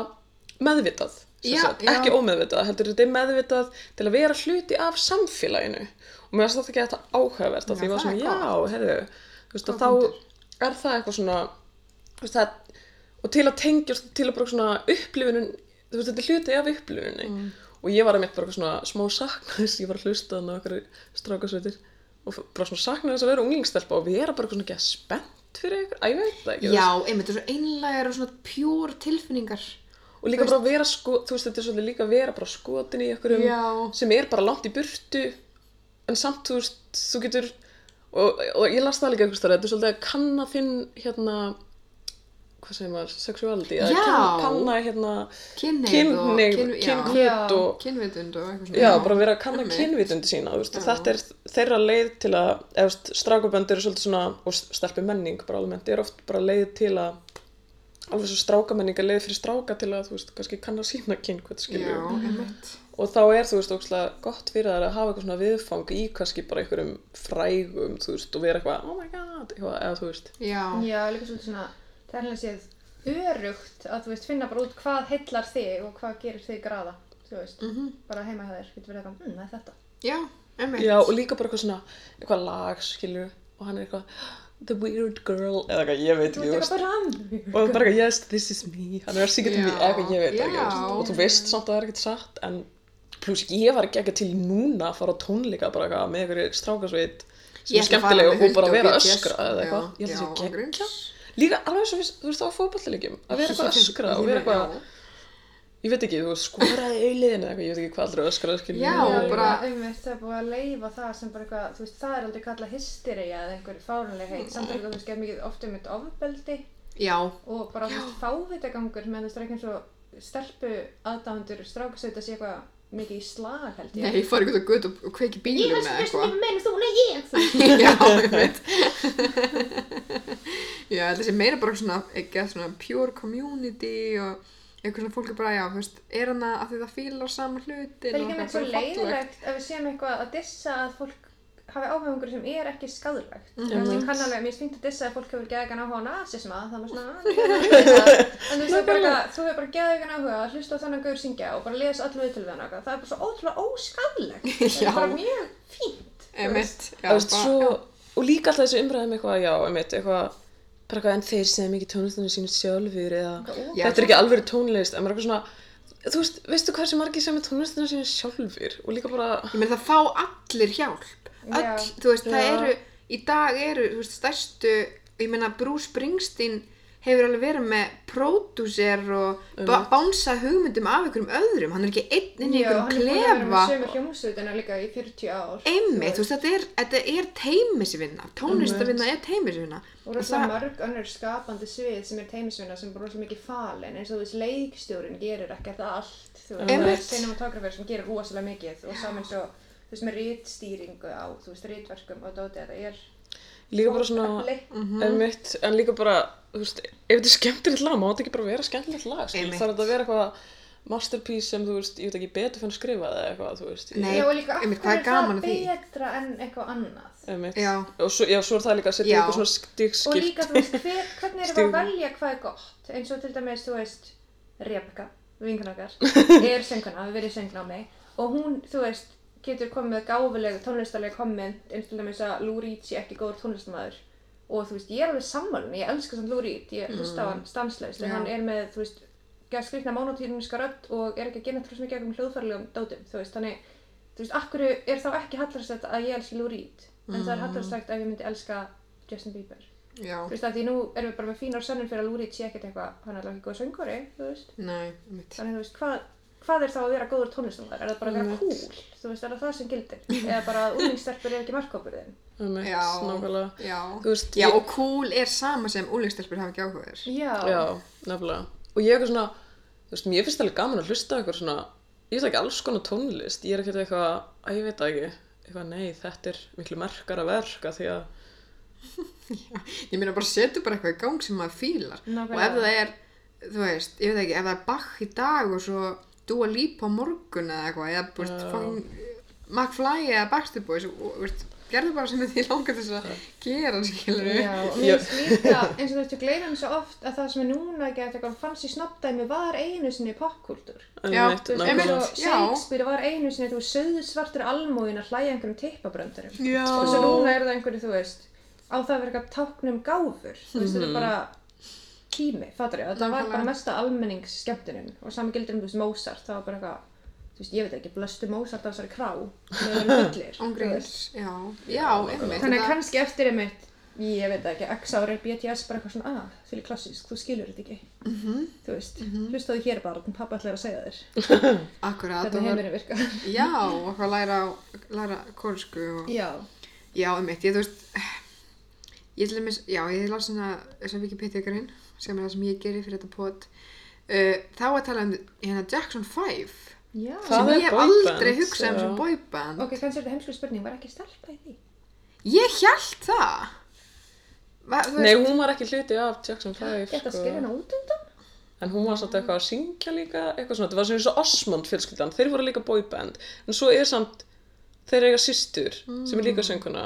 Speaker 3: meðvitað, sem
Speaker 2: Já,
Speaker 3: sagt,
Speaker 2: já.
Speaker 3: ekki ómeðvitað, heldur þetta er meðvitað til að vera hluti af samfélaginu og mér finnst þetta ekki þetta áhugavert
Speaker 2: Já,
Speaker 3: að því ég var
Speaker 2: það er
Speaker 3: svona, já, heyrðu, þú veist, að
Speaker 2: Góð
Speaker 3: þá er það eitthvað svona, þú veist, það, og til að tengja, til að bara svona upplifunum, þú veist, þetta er hluti af upplifunni og ég var að mitt bara eitthvað svona smá sakna þess, ég var að hlusta þannig á okkur strákasveitir og bara svona sakna þess að vera unglingstelpa og vera bara eitthvað svona ekki spennt fyrir eitthvað, að ég veit það ekki, þú
Speaker 2: Já, einmitt, þessu einlægar og svona pjór tilfinningar.
Speaker 3: og líka bara að vera sko, þú veist þetta er svolítið líka að vera bara skotin í einhverjum
Speaker 2: Já.
Speaker 3: sem er bara langt í burtu en samt þú veist, þú getur og, og ég las það líka einhvers þar þetta er svolítið að kanna þinn hérna hvað segir maður, sexuality að
Speaker 2: Já.
Speaker 3: kanna, kanna hérna
Speaker 2: Kynneigð og-
Speaker 3: kynneigð,
Speaker 2: kyn- já.
Speaker 3: kynhlut
Speaker 1: Já.
Speaker 3: og
Speaker 2: Kynvitund og eitthvað svona.
Speaker 3: Já, bara vera að kanna
Speaker 2: Einmitt.
Speaker 3: kynvitundi sína, þú veist, og
Speaker 2: Já.
Speaker 3: þetta er þeirra leið til að, eða þú strákabönd eru svolítið svona, og stelpi menning bara almennt, er oft bara leið til að, alveg svo strákamenning er leið fyrir stráka til að, þú veist, kannski kanna sína kynkvæmt,
Speaker 2: Já,
Speaker 3: skilju,
Speaker 2: einmitt.
Speaker 3: og þá er, þú veist, ókslega gott fyrir þær að hafa eitthvað svona viðfang í kannski bara einhverjum frægum, þú veist, og vera eitthvað, oh my god, eitthvað, eða þú veist,
Speaker 2: Já,
Speaker 1: Já, líka svolítið svona, það er hérna séð örugt að þú veist finna bara út hvað heillar þig og hvað gerir þig graða, þú veist,
Speaker 2: Mhm.
Speaker 1: bara heima hjá þér, getur verið eitthvað, mm, það er þetta.
Speaker 2: já, einmitt.
Speaker 3: já, og líka bara eitthvað svona, eitthvað lag, skilju, og hann er eitthvað, the weird girl, eða eitthvað, ég veit
Speaker 1: Þú
Speaker 3: ekki,
Speaker 1: ert
Speaker 3: þú
Speaker 1: eitthvað
Speaker 3: veist.
Speaker 1: bara "Mm." hann.
Speaker 3: og bara eitthvað, yes, this is me hann er að syngja til
Speaker 2: Já.
Speaker 3: mér, eitthvað, ég veit það ekki
Speaker 2: Já.
Speaker 3: veist. og þú veist samt að það er ekkert satt en pluss ég var ekki ekki til núna að fara á tónleika bara eitthvað með einhverju strákasveit sem
Speaker 2: Ég
Speaker 3: er
Speaker 2: ætla að fara
Speaker 3: skemmtileg
Speaker 2: með
Speaker 3: og hún bara
Speaker 2: Huldu og
Speaker 3: vera að
Speaker 2: BTS.
Speaker 3: öskra eða eitthvað,
Speaker 2: Já,
Speaker 3: ég held
Speaker 2: já,
Speaker 3: að það sé
Speaker 2: ángríns.
Speaker 3: gekkja líka alveg eins og við- þú veist á fótballtaleikjum að vera eitthvað að öskra og vera eitthvað ég veit ekki, þú veist, skoraði auliðin eða eitthvað, ég veit ekki hvað allir eru að öskra skilur
Speaker 2: Já,
Speaker 1: Já,
Speaker 3: við.
Speaker 1: bara
Speaker 2: bara-
Speaker 1: einmitt, það er búið að leifa það sem bara eitthvað, þú veist, það er aldrei kallað hysteria eða einhverju fárunlega heit, samt er það, þú veist, er mikið oft um eitt ofbeldi
Speaker 2: Já,
Speaker 1: og bara þú veist, fávitagangur, menn þú veist, það er ekki eins og stelpu aðdáðandur strákasauta sé eitthvað mikið í slag, held ég.
Speaker 2: nei, ég fór eitthvað gutt og og kveiki
Speaker 1: Ég
Speaker 2: bílum
Speaker 1: hans
Speaker 2: eða
Speaker 1: veist mikið
Speaker 2: eitthvað.
Speaker 1: meina þú, nei ég, þú
Speaker 2: [laughs] Já, einmitt. [laughs] Já, þetta sé meira bara svona, ekki að svona pure community og eitthvað svona fólk er bara, já, þú veist, er hana að því það fílar saman hlutin
Speaker 1: Það er
Speaker 2: og
Speaker 1: líka með svo
Speaker 2: eitthvað bara fallegt.
Speaker 1: leiðilegt ef við séum eitthvað að dissa að fólk hafi áhengur sem er ekki skadurlegt. Mm
Speaker 3: Mhm.
Speaker 1: -hmm. Ég kann alveg, mér finnst að dissa að fólk hefur geðgan áhuga á nasisma, það er maður svona, "Ah, ég er að gera
Speaker 2: [laughs]
Speaker 1: það." en þú veist það er bara, eitthvað, þú hefur bara geðgan áhuga að hlusta á þannig gaur syngja og bara lesa allu viðtöl við hann það er bara svo ótrúlega
Speaker 2: [laughs]
Speaker 1: óskadurlegt, það
Speaker 2: Já.
Speaker 1: er bara mjög fínt. þú veist.
Speaker 2: Einmitt, já,
Speaker 3: Þú veist,
Speaker 2: bara-
Speaker 3: svo, og líka alltaf þessu umræðum eitthvað, já, einmitt, eitthvað, bara eitthvað en þeir segja mikið tónlistunum sínum sjálfur eða
Speaker 1: Já.
Speaker 3: þetta er ekki alveg tónlist, en maður er eitthvað svona, þú veist, veistu hvað sem margir sem er tónlistunum sínum sjálfur og líka bara,
Speaker 2: Ég meina það fá allir hjálp. Öll,
Speaker 1: Já.
Speaker 2: þú veist, það
Speaker 3: Já.
Speaker 2: eru, í dag eru, þú veist, stærstu, ég meina Bruce Springsteen hefur alveg verið með pródúser og ba- bánsa hugmyndum af einhverjum öðrum. Hann er ekki einn inn í
Speaker 1: Já, hann er búinn að
Speaker 2: einhverjum
Speaker 1: vera með sömu
Speaker 2: klefa.
Speaker 1: hljómsveitina líka í 40 ár.
Speaker 2: Einmitt, þú veist, þetta er, þetta er teimisvinna. Tónlistavinna er teimisvinna.
Speaker 1: og rosalega mörg önnur skapandi svið sem er teimisvinna sem er rosalega mikið falin eins og þú veist leikstjórin gerir ekkert allt þú veist, það
Speaker 2: Einmitt.
Speaker 1: er cinematografir sem gerir rosalega mikið og saman svo þú veist með rítstýringu á þú veist rítverkum og dóti þetta er
Speaker 3: líka bara svona, Mhm.
Speaker 2: Mhm.
Speaker 3: einmitt, en líka bara, þú veist, ef þetta er skemmtilegt lag, má þetta ekki bara vera skemmtilegt lag, skil,
Speaker 2: Einmitt.
Speaker 3: þarf þetta að vera eitthvað masterpiece sem, þú veist, ég veit ekki betur fann skrifað eða eitthvað, þú veist, ég-
Speaker 2: Nei.
Speaker 1: Já, og líka af
Speaker 2: einmitt,
Speaker 1: hverju
Speaker 2: hvað er gaman
Speaker 1: það
Speaker 2: að því?
Speaker 1: betra en eitthvað annað
Speaker 3: einmitt,
Speaker 2: Já.
Speaker 3: og svo, já, svo er það líka að setja
Speaker 2: Já.
Speaker 3: eitthvað svona
Speaker 1: og
Speaker 3: stigskipt,
Speaker 1: líka þú veist hver, hvernig erum við að
Speaker 3: Stigum.
Speaker 1: velja hvað er gott eins og til dæmis þú veist Rebecca, vinkan okkar er sönguna, við verið söngna á mig og hún, þú veist, getur komið með gáfulega tónlistalega komment eins og til dæmis að Lou Reed sé ekki góður tónlistamæður og þú veist, ég er alveg sammálun, ég elska samt Lou Reed, ég hlusta á hann stanslaust en
Speaker 2: Já.
Speaker 1: hann er með, þú veist, gerð skrifna monotínuska rödd og er ekki að gera trúst mikið um hljóðfærilegum dótum, þú veist, þannig þú veist, akkur er þá ekki hallarstætt að ég elski Lou Reed en það er hallarstætt að ég myndi elska Justin Bieber
Speaker 2: Já,
Speaker 1: þú veist, að því nú erum við bara með fínar sönnum fyrir að Lou Reed sé ekkert eitthvað, hann er alveg ekki góð söngvari, þú veist
Speaker 2: nei, mitt.
Speaker 1: þannig þú veist, hvað, hvað er þá að vera góður tónlistamæður? Er það bara að vera
Speaker 2: Einmitt.
Speaker 1: cool? Þú veist, er það það sem gildir? Eða bara að úlingstelpur er ekki markkópur þinn?
Speaker 3: Einmitt,
Speaker 2: Já,
Speaker 3: nákvæmlega.
Speaker 2: já.
Speaker 3: Þú veist,
Speaker 2: Já,
Speaker 3: ég-
Speaker 2: og cool er sama sem úlingstelpur hafa ekki áhuga á þér.
Speaker 1: Já.
Speaker 3: Já, nefnilega. Og ég er eitthvað svona, þú veist, mér finnst alveg gaman að hlusta á eitthvað svona, ég veist ekki alls konar tónlist, ég er ekkert eitthvað, að ég veit það ekki, eitthvað nei, þetta er miklu merkara verka því að,
Speaker 2: Ég meina bara setu bara eitthvað í gang sem maður fílar. Og ef
Speaker 1: Nákvæmlega.
Speaker 2: það er, þú veist, ég veit ekki, ef það er Bach í dag og svo Dua Lipa á morgun eða eitthvað, eða, þú veist,
Speaker 3: Já.
Speaker 2: fucking McFly eða Backstreet Boys og, og, þú veist, gerðu bara sem þið langar þess að gera, skilur
Speaker 1: Já, og mér finnst líka, eins og þú veist, við gleymum svo oft að það sem er núna gett eitthvað fancy snobbdæmi var einu sinni popkúltúr.
Speaker 3: einmitt,
Speaker 1: Þú veist, eins
Speaker 3: nákvæmlega.
Speaker 1: og
Speaker 2: Einmitt, já.
Speaker 1: Shakespeare var einu sinni, þú veist, söðu svartur almógin að hlæja einhverjum tippabröndurum.
Speaker 2: Já.
Speaker 1: Og svo núna er það einhverju, þú veist, á það að vera eitthvað táknum gáfur. Þú veist, þetta er bara tími, fattur ég. Þetta var
Speaker 2: Nákvæmlega.
Speaker 1: bara mesta almenningsskemmtunum og sami gildir um, þú veist, Mozart, það var bara eitthvað, þú veist, ég veit ekki, blöstu Mozart á þessari krá með þeirra fullir. þú
Speaker 2: Ángríns,
Speaker 1: veist.
Speaker 2: já, já,
Speaker 1: Þannig
Speaker 2: einmitt.
Speaker 1: að
Speaker 2: þetta-
Speaker 1: kannski eftir einmitt, ég veit það ekki, X ára er BTS bara eitthvað svona, "Ah, að, fyrir klassísk, þú skilur þetta ekki. Þú veist, hlustaðu hér bara, pappa ætlar að segja þér,
Speaker 2: Akkurat,
Speaker 1: þetta
Speaker 2: og það,
Speaker 1: heimurinn virkar.
Speaker 2: já, og hvað læra, á- læra kórsku og,
Speaker 1: Já.
Speaker 2: já, einmitt, ég, þú veist, ég til dæmis, já, ég las svona, þess að Wikipedia grein, sem er það sem ég geri fyrir þetta pot, uh, þá að tala um, hérna, Jackson 5,
Speaker 1: Já.
Speaker 3: Það
Speaker 2: sem
Speaker 3: er
Speaker 2: ég hef
Speaker 3: boyband,
Speaker 2: aldrei hugsað um
Speaker 3: já.
Speaker 2: sem boyband.
Speaker 1: Ok, kannski er þetta heimskulega spurning, var ekki stelpa í því?
Speaker 2: Ég held það. Va, þú
Speaker 3: Nei, hún var ekki hluti af Jackson 5,
Speaker 1: Geta að skilja hana út undan?
Speaker 3: en hún var samt eitthvað að syngja líka, eitthvað svona, þetta var svona eins og Osmond fjölskyldan, þeir voru líka boyband, en svo er samt, þeir eiga systur, sem er líka sönguna,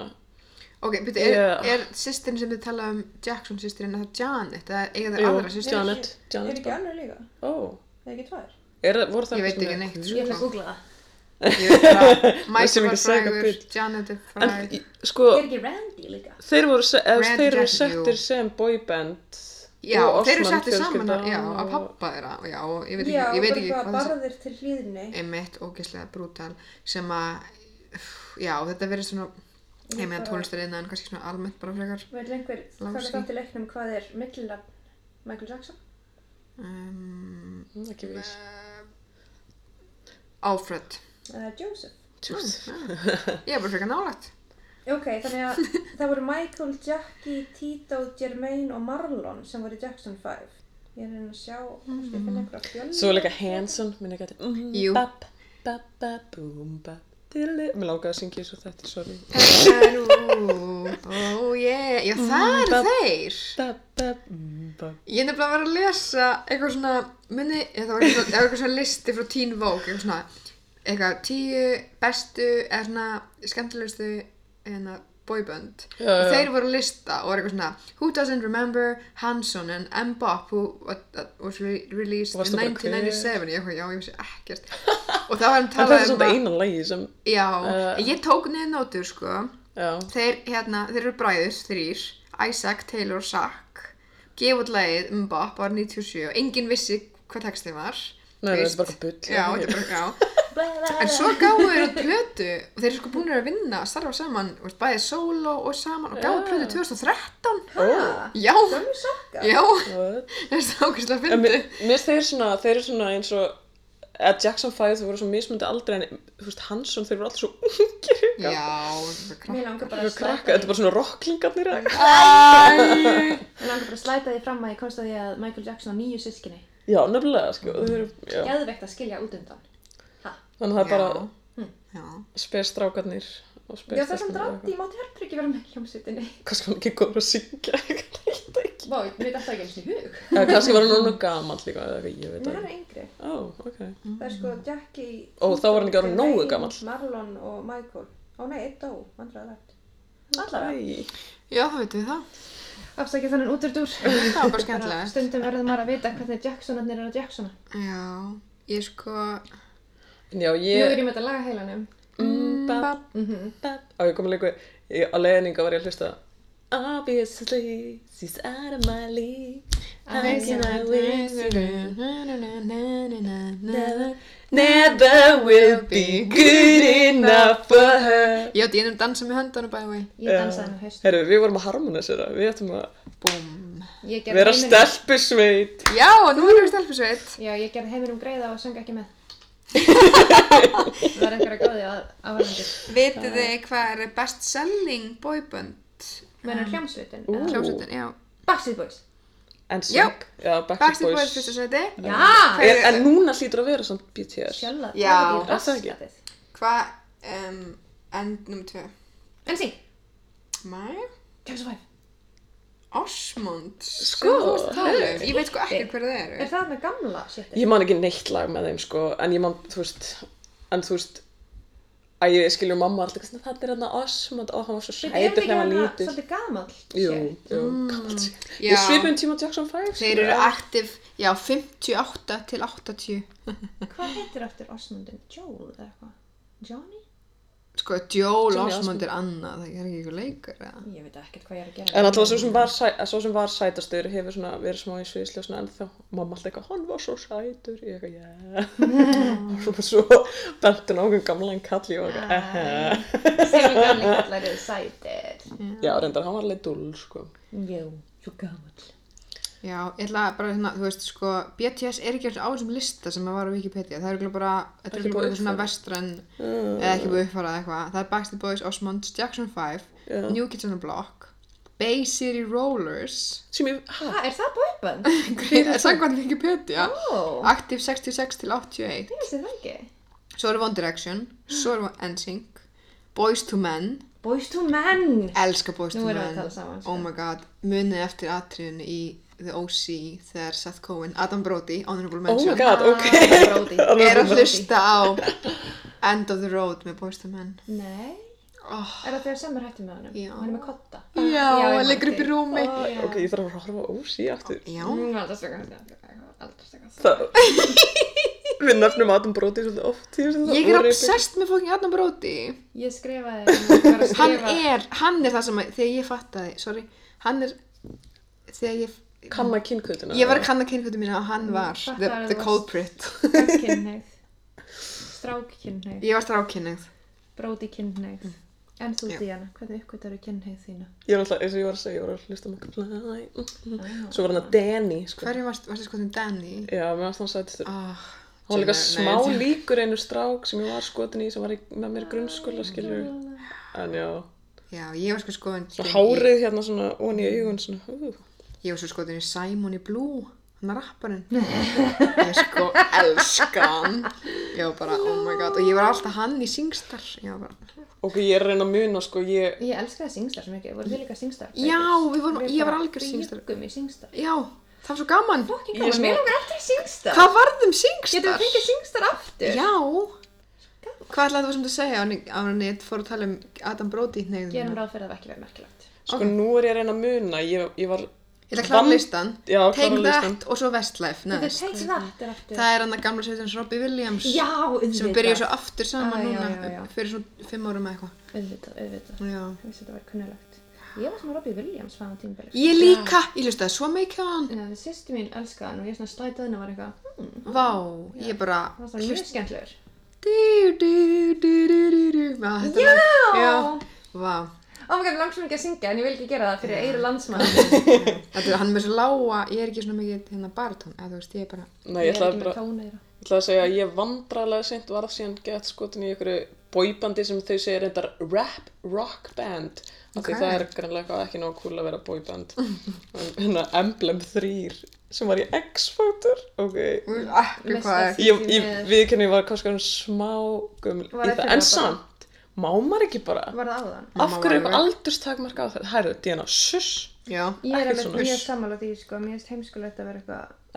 Speaker 2: Ok, betur, er,
Speaker 3: Yeah.
Speaker 2: er sýstirinn sem þið tala um Jackson sýstirinn að það Janet eða eiga þær
Speaker 3: Jú,
Speaker 2: aðra sýstir?
Speaker 3: Janet. Janet
Speaker 1: Er ekki
Speaker 3: bara.
Speaker 1: annar líka?
Speaker 3: ó,
Speaker 1: Er ekki tvær?
Speaker 3: er, voru það
Speaker 2: Ég veit
Speaker 3: eitthvað
Speaker 2: ekki
Speaker 3: svona-
Speaker 2: neitt.
Speaker 1: Ég ætla að
Speaker 2: sko.
Speaker 1: googla það.
Speaker 2: Ég veit
Speaker 3: [laughs]
Speaker 2: bara, Michael
Speaker 3: Vissum ekki
Speaker 2: var
Speaker 3: að segja eitthvað
Speaker 2: frægur,
Speaker 3: bull.
Speaker 2: Janet er
Speaker 3: En,
Speaker 2: fræg.
Speaker 3: í- sko,
Speaker 1: Er ekki Randy líka?
Speaker 3: þeir voru, se eða,
Speaker 2: Randy
Speaker 3: þeir eru
Speaker 2: Jackson,
Speaker 3: settir
Speaker 2: jú.
Speaker 3: sem boyband
Speaker 2: Já,
Speaker 3: og
Speaker 2: þeir eru
Speaker 3: Osman Mm,
Speaker 2: settið saman
Speaker 3: fjölskylda
Speaker 2: að, já,
Speaker 3: og-
Speaker 2: að pappa þeirra, já, og ég veit ekki, ég veit ekki
Speaker 1: Já,
Speaker 2: hvað Eh,
Speaker 1: bara
Speaker 2: þessi
Speaker 1: barðir til hlýðinni.
Speaker 2: einmitt ógeðslega brútal sem að, já, þetta verið svona, ég meina tónlistarinn en kannski svona almennt bara frekar.
Speaker 1: Veit einhver, hvað er
Speaker 2: Lási.
Speaker 1: það til leiknum, hvað er millilagn Michael Jackson?
Speaker 2: Um,
Speaker 3: Mm, ekki viss
Speaker 2: Alfred.
Speaker 1: Uh, Joseph. Eh,
Speaker 3: Tjús.
Speaker 2: Ég er bara frekar nálægt.
Speaker 1: Ok, þannig
Speaker 2: [laughs]
Speaker 1: að það voru Michael, Jackie, Tito, Jermaine og Marlon sem voru í Jackson 5. Ég er að reyna að sjá, ég
Speaker 2: Mhm.
Speaker 1: finn einhverja fjölni.
Speaker 3: svo er líka Hanson minna ekki að mm,
Speaker 2: Jú.
Speaker 3: bap, bap, bap, búm, bap, dilli mér langaði að syngja svo þetta sorry
Speaker 2: Ó, Oh, yeah,
Speaker 3: Mm,
Speaker 2: já það eru
Speaker 3: bab-
Speaker 2: þeir.
Speaker 3: bap, bap, mm, bap.
Speaker 2: Ég er nefnilega að vera að lesa eitthvað svona, minni, eða það var eitthvað, það var eitthvað svona listi frá Teen Vogue, eitthvað svona, eitthvað tíu bestu, eða svona skemmtilegustu, eða boyband.
Speaker 3: Já, já,
Speaker 2: og
Speaker 3: já.
Speaker 2: þeir voru að lista og var eitthvað svona, Who Doesn't Remember Hanson and M-Bop who uh, was re released
Speaker 3: Og varstu
Speaker 2: in
Speaker 3: bara,
Speaker 2: 1997. Ég eitthvað, já, ég vissi ekkert. og það var
Speaker 3: [laughs]
Speaker 2: hann
Speaker 3: en það
Speaker 2: talað
Speaker 3: er
Speaker 2: um
Speaker 3: svona
Speaker 2: að,
Speaker 3: einan lagi sem
Speaker 2: já,
Speaker 3: Eh.
Speaker 2: en ég tók niður nótur, sko.
Speaker 3: já,
Speaker 2: Þeir, hérna, þeir eru bræður, þrýr, Isaac, Taylor og Zach, gefa út lagið Mbop árið 97 og enginn vissi hvað textið var.
Speaker 3: Nei,
Speaker 2: þú
Speaker 3: það er
Speaker 2: veist.
Speaker 3: bara eitthvað bull,
Speaker 2: Já,
Speaker 3: eða
Speaker 2: þetta er bara, já. En svo gáðu þeir út plötu og þeir eru sko búin að vinna að starfa saman, þú veist, bæðið solo og saman og gáðu út plötu 2013.
Speaker 1: Hæ?
Speaker 2: Já,
Speaker 1: Gömmu Ah, sokka?
Speaker 2: já,
Speaker 3: What?
Speaker 2: það er stákislega
Speaker 3: En mér
Speaker 2: fyndið.
Speaker 3: mér finnst þeir svona, þeir eru svona eins og að Jackson 5 þau voru svo mismundi aldrei en þú veist Hanson þeir voru alltaf svo ungir
Speaker 2: Já, það er
Speaker 1: Mér
Speaker 2: krakk.
Speaker 1: langar bara að
Speaker 3: og krakka,
Speaker 1: slæta
Speaker 3: þetta er
Speaker 1: því,
Speaker 3: bara svona rocklingarnir eða eitthvað.
Speaker 2: Æ,
Speaker 1: mér langar bara að slæta því fram að ég komst að því að Michael Jackson á nýju sískinni.
Speaker 3: já, nefnilega, sko þau eru, já,
Speaker 1: Geðvegt að skilja út undan. Ha?
Speaker 3: þannig að það er bara Hm.
Speaker 2: já, já.
Speaker 3: spes strákarnir og spes
Speaker 1: Já, það sem
Speaker 3: stelpurnar og
Speaker 1: drátti, ég mátti heldur ekki vera með í hljómsveitinni.
Speaker 3: eitthvað. kannski var hann ekki góður að syngja eitthvað, ég veit ekki.
Speaker 1: Vá, ég veit alltaf ekki eins og hug.
Speaker 3: eða kannski var hann orðinn of gamall líka eða eitthvað, ég
Speaker 1: Mér
Speaker 3: veit það
Speaker 1: hann
Speaker 3: ekki.
Speaker 1: er yngri.
Speaker 3: ó, ok
Speaker 1: Það er sko Jackie...
Speaker 3: Ó, þá var hann ekki orðinn nógu
Speaker 1: Jermaine,
Speaker 3: gamall.
Speaker 1: Marlon og Michael. Ó nei, eitt dó, vandræðilegt. Allavega.
Speaker 3: Æ,
Speaker 2: Já, það veitum við það.
Speaker 1: Afsækja þannig útrúdur.
Speaker 2: Það var bara skemmtilegt.
Speaker 1: Stundum verður maður að vita hvernig Jacksonarnir eru að Jacksona.
Speaker 2: Já, ég sko
Speaker 3: en já,
Speaker 1: Nú
Speaker 3: ég
Speaker 1: er ég með þetta laga heilanum.
Speaker 3: mm, bap, bap og ég kom að leika í- á leiðninga var ég að hlusta Obviously, she's out of my league I cannot win Never, never will be good enough for her
Speaker 2: Ég átti einum dansa með höndunum by the way
Speaker 1: Ég dansaði með haust.
Speaker 3: Herru, við vorum að harmonisera, við ættum að
Speaker 2: Búm
Speaker 1: Ég gerði
Speaker 3: vera
Speaker 1: heiminum-
Speaker 3: stelpisveit
Speaker 2: Já, nú erum við stelpisveit
Speaker 1: Já, ég gerði heiminum greiða og söng ekki með. það er einhverja góði að áhverjandir.
Speaker 2: Vitið þið hvað er best selling boyband?
Speaker 1: Mennar hljómsveitin.
Speaker 3: Ú.
Speaker 1: eða-
Speaker 2: Hljómsveitin, já
Speaker 1: Backstreet Boys.
Speaker 3: En
Speaker 2: Já.
Speaker 3: söng, já, Backstreet
Speaker 2: Backstreet Boys
Speaker 3: Boys
Speaker 2: fyrsta sveiti
Speaker 1: Já!
Speaker 3: En, en núna hlýtur að vera samt BTS
Speaker 1: Sjálfa.
Speaker 2: Já.
Speaker 1: það er
Speaker 3: Er það ekki?
Speaker 1: ekki raskatið.
Speaker 2: Hvað, um, end nr. 2
Speaker 1: En sín,
Speaker 2: Mæja?
Speaker 1: James Five.
Speaker 2: Osmond
Speaker 3: Sko,
Speaker 2: Ég veit sko ekki hver það
Speaker 1: Er
Speaker 2: eru
Speaker 1: það með gamla shitið?
Speaker 3: Ég man ekki neitt lag með þeim sko En ég man, þú veist En þú veist Að ég skilur mamma alltaf svona, Það er hann að Osmond Og hann var svo
Speaker 1: Þetta er
Speaker 3: sætur
Speaker 1: ekki
Speaker 3: þegar hann
Speaker 1: hana
Speaker 3: lítill
Speaker 1: svolítið gamall
Speaker 3: Jú,
Speaker 1: shit.
Speaker 3: jú, gammalt
Speaker 2: Mm. Já.
Speaker 3: Ég svipum tíma Jackson sko. 5
Speaker 2: Þeir eru aktiv, já, 58 til 80
Speaker 1: Hvað heitir aftur Osmundin? Joel eða eitthvað? Johnny?
Speaker 2: Sko, Joel
Speaker 3: Jimmy
Speaker 2: Osmond er annað, það er ekki ykkur leikur eða
Speaker 1: Ég veit ekkert hvað ég er að gera
Speaker 3: En alltaf svo sem var, sæ, svo sem var sætastur hefur svona verið smá í sviðsljósna en þá mamma alltaf eitthvað, hann var svo sætur ég eitthvað, já
Speaker 2: [laughs]
Speaker 3: og svo bentur nákvæm gamla en kalli og eitthvað, ehe
Speaker 1: Sýnum gamli kallar eru sætir
Speaker 3: Já, reyndar, hann var alveg dúll, sko
Speaker 1: Jú, svo gamall
Speaker 2: Já, ég ætla bara hérna, þú veist, sko, BTS er ekki alltaf á þessum lista sem að var á Wikipedia Það er ekki bara, þetta er
Speaker 3: Ekki
Speaker 2: ekki
Speaker 3: búið
Speaker 2: bara svona
Speaker 3: uppfærað.
Speaker 2: vestrann,
Speaker 1: Ah.
Speaker 2: eða ekki búið uppfarað eitthvað Það er Backstreet Boys, Osmond, Jackson 5,
Speaker 3: Já.
Speaker 2: New Kids on the Block, Bay City Rollers
Speaker 1: [laughs]
Speaker 3: sem ég, hæ,
Speaker 1: Hvað, er það [laughs] bóipan?
Speaker 2: Sangvann Wikipedia
Speaker 1: Ó,
Speaker 2: Aktiv 66 til 81
Speaker 1: ég vissi það ekki
Speaker 2: Svo er One Direction Svo er NSYNC Boys to Men
Speaker 1: Boys to Men
Speaker 2: Elska Boys
Speaker 1: Nú
Speaker 2: to Men
Speaker 1: erum við að tala saman, sko.
Speaker 2: Oh my god Munið eftir atriðinu í The OC Þegar Seth Cohen Adam Brody Honorable
Speaker 3: oh my
Speaker 2: Mention
Speaker 3: god,
Speaker 2: [laughs]
Speaker 3: ok
Speaker 1: Ah, Brody.
Speaker 2: Er að
Speaker 1: Brody.
Speaker 2: hlusta á End of the Road með Boys to Men
Speaker 1: Nei,
Speaker 2: oh,
Speaker 1: er það þegar Summer hætti með honum?
Speaker 2: Já.
Speaker 1: Hann er með kotta
Speaker 2: Já,
Speaker 1: ég
Speaker 2: hann
Speaker 1: man
Speaker 2: liggur upp í
Speaker 1: eftir.
Speaker 2: rúmi
Speaker 1: Já.
Speaker 3: Ok, ég þarf að horfa úr sí aftur
Speaker 2: Já
Speaker 1: Mm, Aldrei stökka Aldrei stökka
Speaker 3: Það Við nefnum Adam Brody svolítið oft í þessu-
Speaker 2: Ég er
Speaker 3: voru-
Speaker 2: obsessed með fókin Adam Brody
Speaker 1: Ég skrifaði ég var að
Speaker 2: hann
Speaker 1: skrifa-
Speaker 2: er, hann er það sem að, þegar ég fattaði, sorry, hann er þegar ég,
Speaker 3: Kanna kynkvöldina
Speaker 2: ég var að kanna kynkvöldu mína og hann var
Speaker 1: Fattar
Speaker 2: the,
Speaker 1: að
Speaker 2: the
Speaker 1: þú varst-
Speaker 2: culprit
Speaker 1: Kynneið Strákynneið
Speaker 2: [laughs] ég var strákynneið
Speaker 1: Bróti kynneið En þú
Speaker 2: Mm. Já.
Speaker 1: Díana, hvernig uppgötar þú kynneið þína?
Speaker 3: Ég var alltaf, eins og ég var að segja, ég var að hlusta með Fly Mm, Svo var hann að Danny, sko
Speaker 2: hverju varst, varst sko þeim Danny
Speaker 3: Já, mér varst hann sættistur
Speaker 2: oh,
Speaker 3: Hann var líka smá líkur einu strák sem ég var skotin í sem var í, með mér í grunnskóla skilur
Speaker 2: Ah.
Speaker 3: En já,
Speaker 2: já, ég var sko skoðin
Speaker 3: svo
Speaker 2: ég,
Speaker 3: hárið hérna svona ón í augun svona hú.
Speaker 2: ég var sko skoðin í Simon í Blue hann var rapparinn ég sko elska hann ég var bara, oh my god, og ég var alltaf hann í Singstar ég var bara,
Speaker 3: Ok, ég er að reyna að muna sko ég
Speaker 1: Ég elskaði Singstar svo mikið, voru þið líka Singstar?
Speaker 2: já, við vorum, ég var algjör
Speaker 1: Singstar
Speaker 2: Singstar
Speaker 1: Við byggum í Singstar
Speaker 2: já, það var svo gaman
Speaker 1: Fokkin
Speaker 3: Ég er
Speaker 1: gaman,
Speaker 3: svona-
Speaker 1: mér langar alltaf í Singstar
Speaker 2: hvað varðum Singstar?
Speaker 1: Getum við fengið Singstar aftur?
Speaker 2: Já Hvað ætlaði þú sem þú að segja á hann ég fór að tala um Adam Brody neyðum
Speaker 1: Gerum ráð fyrir að það ekki verið merkilegt
Speaker 3: Sko nú er ég að reyna að muna Ég, ég var
Speaker 2: Ég ætla að klára
Speaker 3: Vann-
Speaker 2: listan
Speaker 3: Já, klára
Speaker 2: Take
Speaker 3: listan.
Speaker 2: That og svo Westlife
Speaker 1: Þetta er
Speaker 2: neðst.
Speaker 1: Take That er aftur
Speaker 2: Það er hann að gamla sveitins Robbie Williams
Speaker 1: Já, auðvitað
Speaker 2: sem byrja svo aftur saman
Speaker 1: Ah, já, já,
Speaker 2: núna
Speaker 1: já.
Speaker 2: fyrir svona fimm árum eða eitthvað
Speaker 1: Auðvitað, auðvitað
Speaker 2: Já.
Speaker 1: Ég vissi þetta var kunnulegt Ég var svona Robbie Williams fan á tímbili
Speaker 2: Ég líka, ég hlustaði svo mikið á hann
Speaker 1: Sýsti mín elskaði hann og ég svona slætaði henni og var eitthvað hmm,
Speaker 2: Vá, ég bara
Speaker 1: Það var mjög skemmtilegur.
Speaker 2: dú, dú, dú, dú, dú, dú. Vá, þetta
Speaker 1: Já!
Speaker 2: lag- Já, vá
Speaker 1: Ó maður langt svo mikið að syngja en ég vil ekki gera það fyrir eyru landsmann.
Speaker 2: Þetta er hann er með svo lága, ég er ekki svona mikið hérna baratón, eða þú veist, ég er bara
Speaker 3: Nei, ég ætlaði bara
Speaker 1: tóneyra.
Speaker 3: Ég ætlaði að segja að ég vandrarlega seint varð síðan gett skotin í einhverju bóibandi sem þau segja reyndar rap rock band af því
Speaker 2: Ok.
Speaker 3: það er grannlega ekki nóg cool að vera
Speaker 1: [laughs]
Speaker 3: bóiband hérna Emblem 3 sem var í X-Factor ok
Speaker 2: Akkur hvað er
Speaker 3: ég,
Speaker 1: Því
Speaker 3: ég
Speaker 1: miður.
Speaker 3: viðkenni ég var kannski um smá gömul í
Speaker 1: Var það
Speaker 3: það,
Speaker 1: fyrir
Speaker 3: en
Speaker 1: það
Speaker 3: samt má maður ekki bara
Speaker 1: Var það áðan?
Speaker 3: af
Speaker 2: Má
Speaker 3: hverju
Speaker 2: maður
Speaker 3: er aldurstakmark á þetta herðu, Díana, suss
Speaker 2: Já,
Speaker 1: Ég er
Speaker 3: Ekkert
Speaker 1: alveg
Speaker 3: svona.
Speaker 1: mjög sammála því sko, mér finnst heimskulegt að vera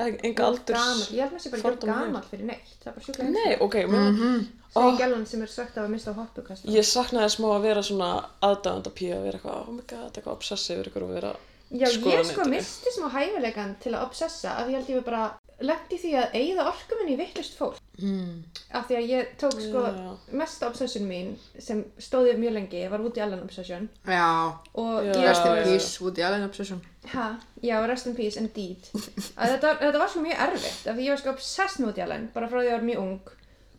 Speaker 1: eitthvað
Speaker 3: enga aldurs
Speaker 1: gamall. Ég held mér sé bara ekki
Speaker 3: fordómar.
Speaker 1: gamall fyrir neitt, það er bara sjúklega
Speaker 3: nei, ok mm
Speaker 2: Mhm.
Speaker 1: Svo ég gælan sem er sökt af að mista á hoppukast.
Speaker 3: Ég saknaði smá að vera svona aðdáðanda píu að vera eitthvað, oh my god, eitthvað obsessiv ykkur og vera
Speaker 1: Já,
Speaker 3: skoða
Speaker 1: ég sko
Speaker 3: netinu.
Speaker 1: misti smá hæfilegan til að obsessa af því ég held ég við bara lendi því að eigða orku minni í vittlust fólk
Speaker 3: Mm.
Speaker 1: af því að ég tók sko
Speaker 3: Já.
Speaker 1: mesta obsession mín sem stóði mjög lengi, ég var út í allan obsession
Speaker 2: Já,
Speaker 1: og
Speaker 3: Já.
Speaker 1: ég
Speaker 2: rest in
Speaker 3: já.
Speaker 2: peace, Woody Allen obsession.
Speaker 1: ha, já, rest in peace, indeed að þetta, þetta var svo mjög erfitt af því ég var sko obsessed með út í allan bara frá því að ég var mjög ung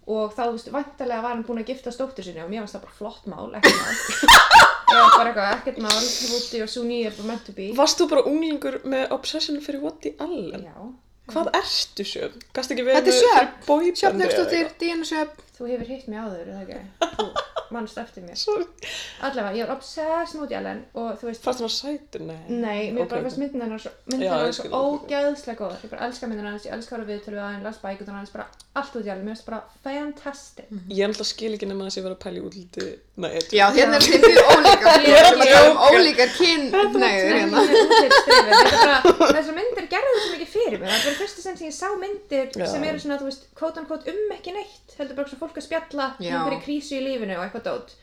Speaker 1: og þá, þú veist, vantarlega var hann búinn að gifta stóttur sinni og mér fannst það bara flott mál, ekkert mál ég var bara eitthvað, ekkert mál, Woody og Sunny er bara meant to be
Speaker 3: Varst þú bara unglingur með obsession fyrir Woody Allen?
Speaker 1: já,
Speaker 3: Hvað ertu sjöfn? Gast ekki verið
Speaker 2: Þetta er
Speaker 3: með- fyrir
Speaker 2: Sjöfn,
Speaker 3: boybandi
Speaker 2: Sjöfn
Speaker 3: eða
Speaker 2: Hauksdóttir, Díana Sjöfn.
Speaker 1: þú hefur hitt mig áður, er það ekki þú mannst eftir mér
Speaker 3: eitthvað? Sorry.
Speaker 1: allavega, ég var obsessed með út í allan og þú veist,
Speaker 3: Fannst það var sætur? Nei.
Speaker 1: Nei, mér
Speaker 3: Ok,
Speaker 1: bara
Speaker 3: ok.
Speaker 1: finnst myndin hennar svo, myndin
Speaker 3: Já,
Speaker 1: hennar svo
Speaker 3: ég skil það.
Speaker 1: ógeðslega góð ég bara elska myndin hennar, ég elska að vera viðtölu að henn las bækunar hennar, bara allt út í alveg mér finnst bara fantastic
Speaker 3: Ég er alltaf skil ekki nema þess að ég var að pæla í útliti. Nei, ég
Speaker 2: Já, hérna er þeim fyrir ólíkar,
Speaker 1: Ég
Speaker 2: við
Speaker 1: er
Speaker 2: erum að tala um
Speaker 3: ekki-
Speaker 2: ólíkar kynneiður
Speaker 1: Nei, [laughs]
Speaker 2: hérna.
Speaker 1: ég er útlitsdrifin. Þetta er bara- Þessar myndir gerðu þetta mikið fyrir mig það er fyrsta sinn sem ég sá myndir
Speaker 3: Já.
Speaker 1: sem eru svona, þú veist, quote unquote um ekki neitt heldur bara svona fólk að spjalla um
Speaker 2: Já.
Speaker 1: einhverju krísu í lífinu og eitthvað dót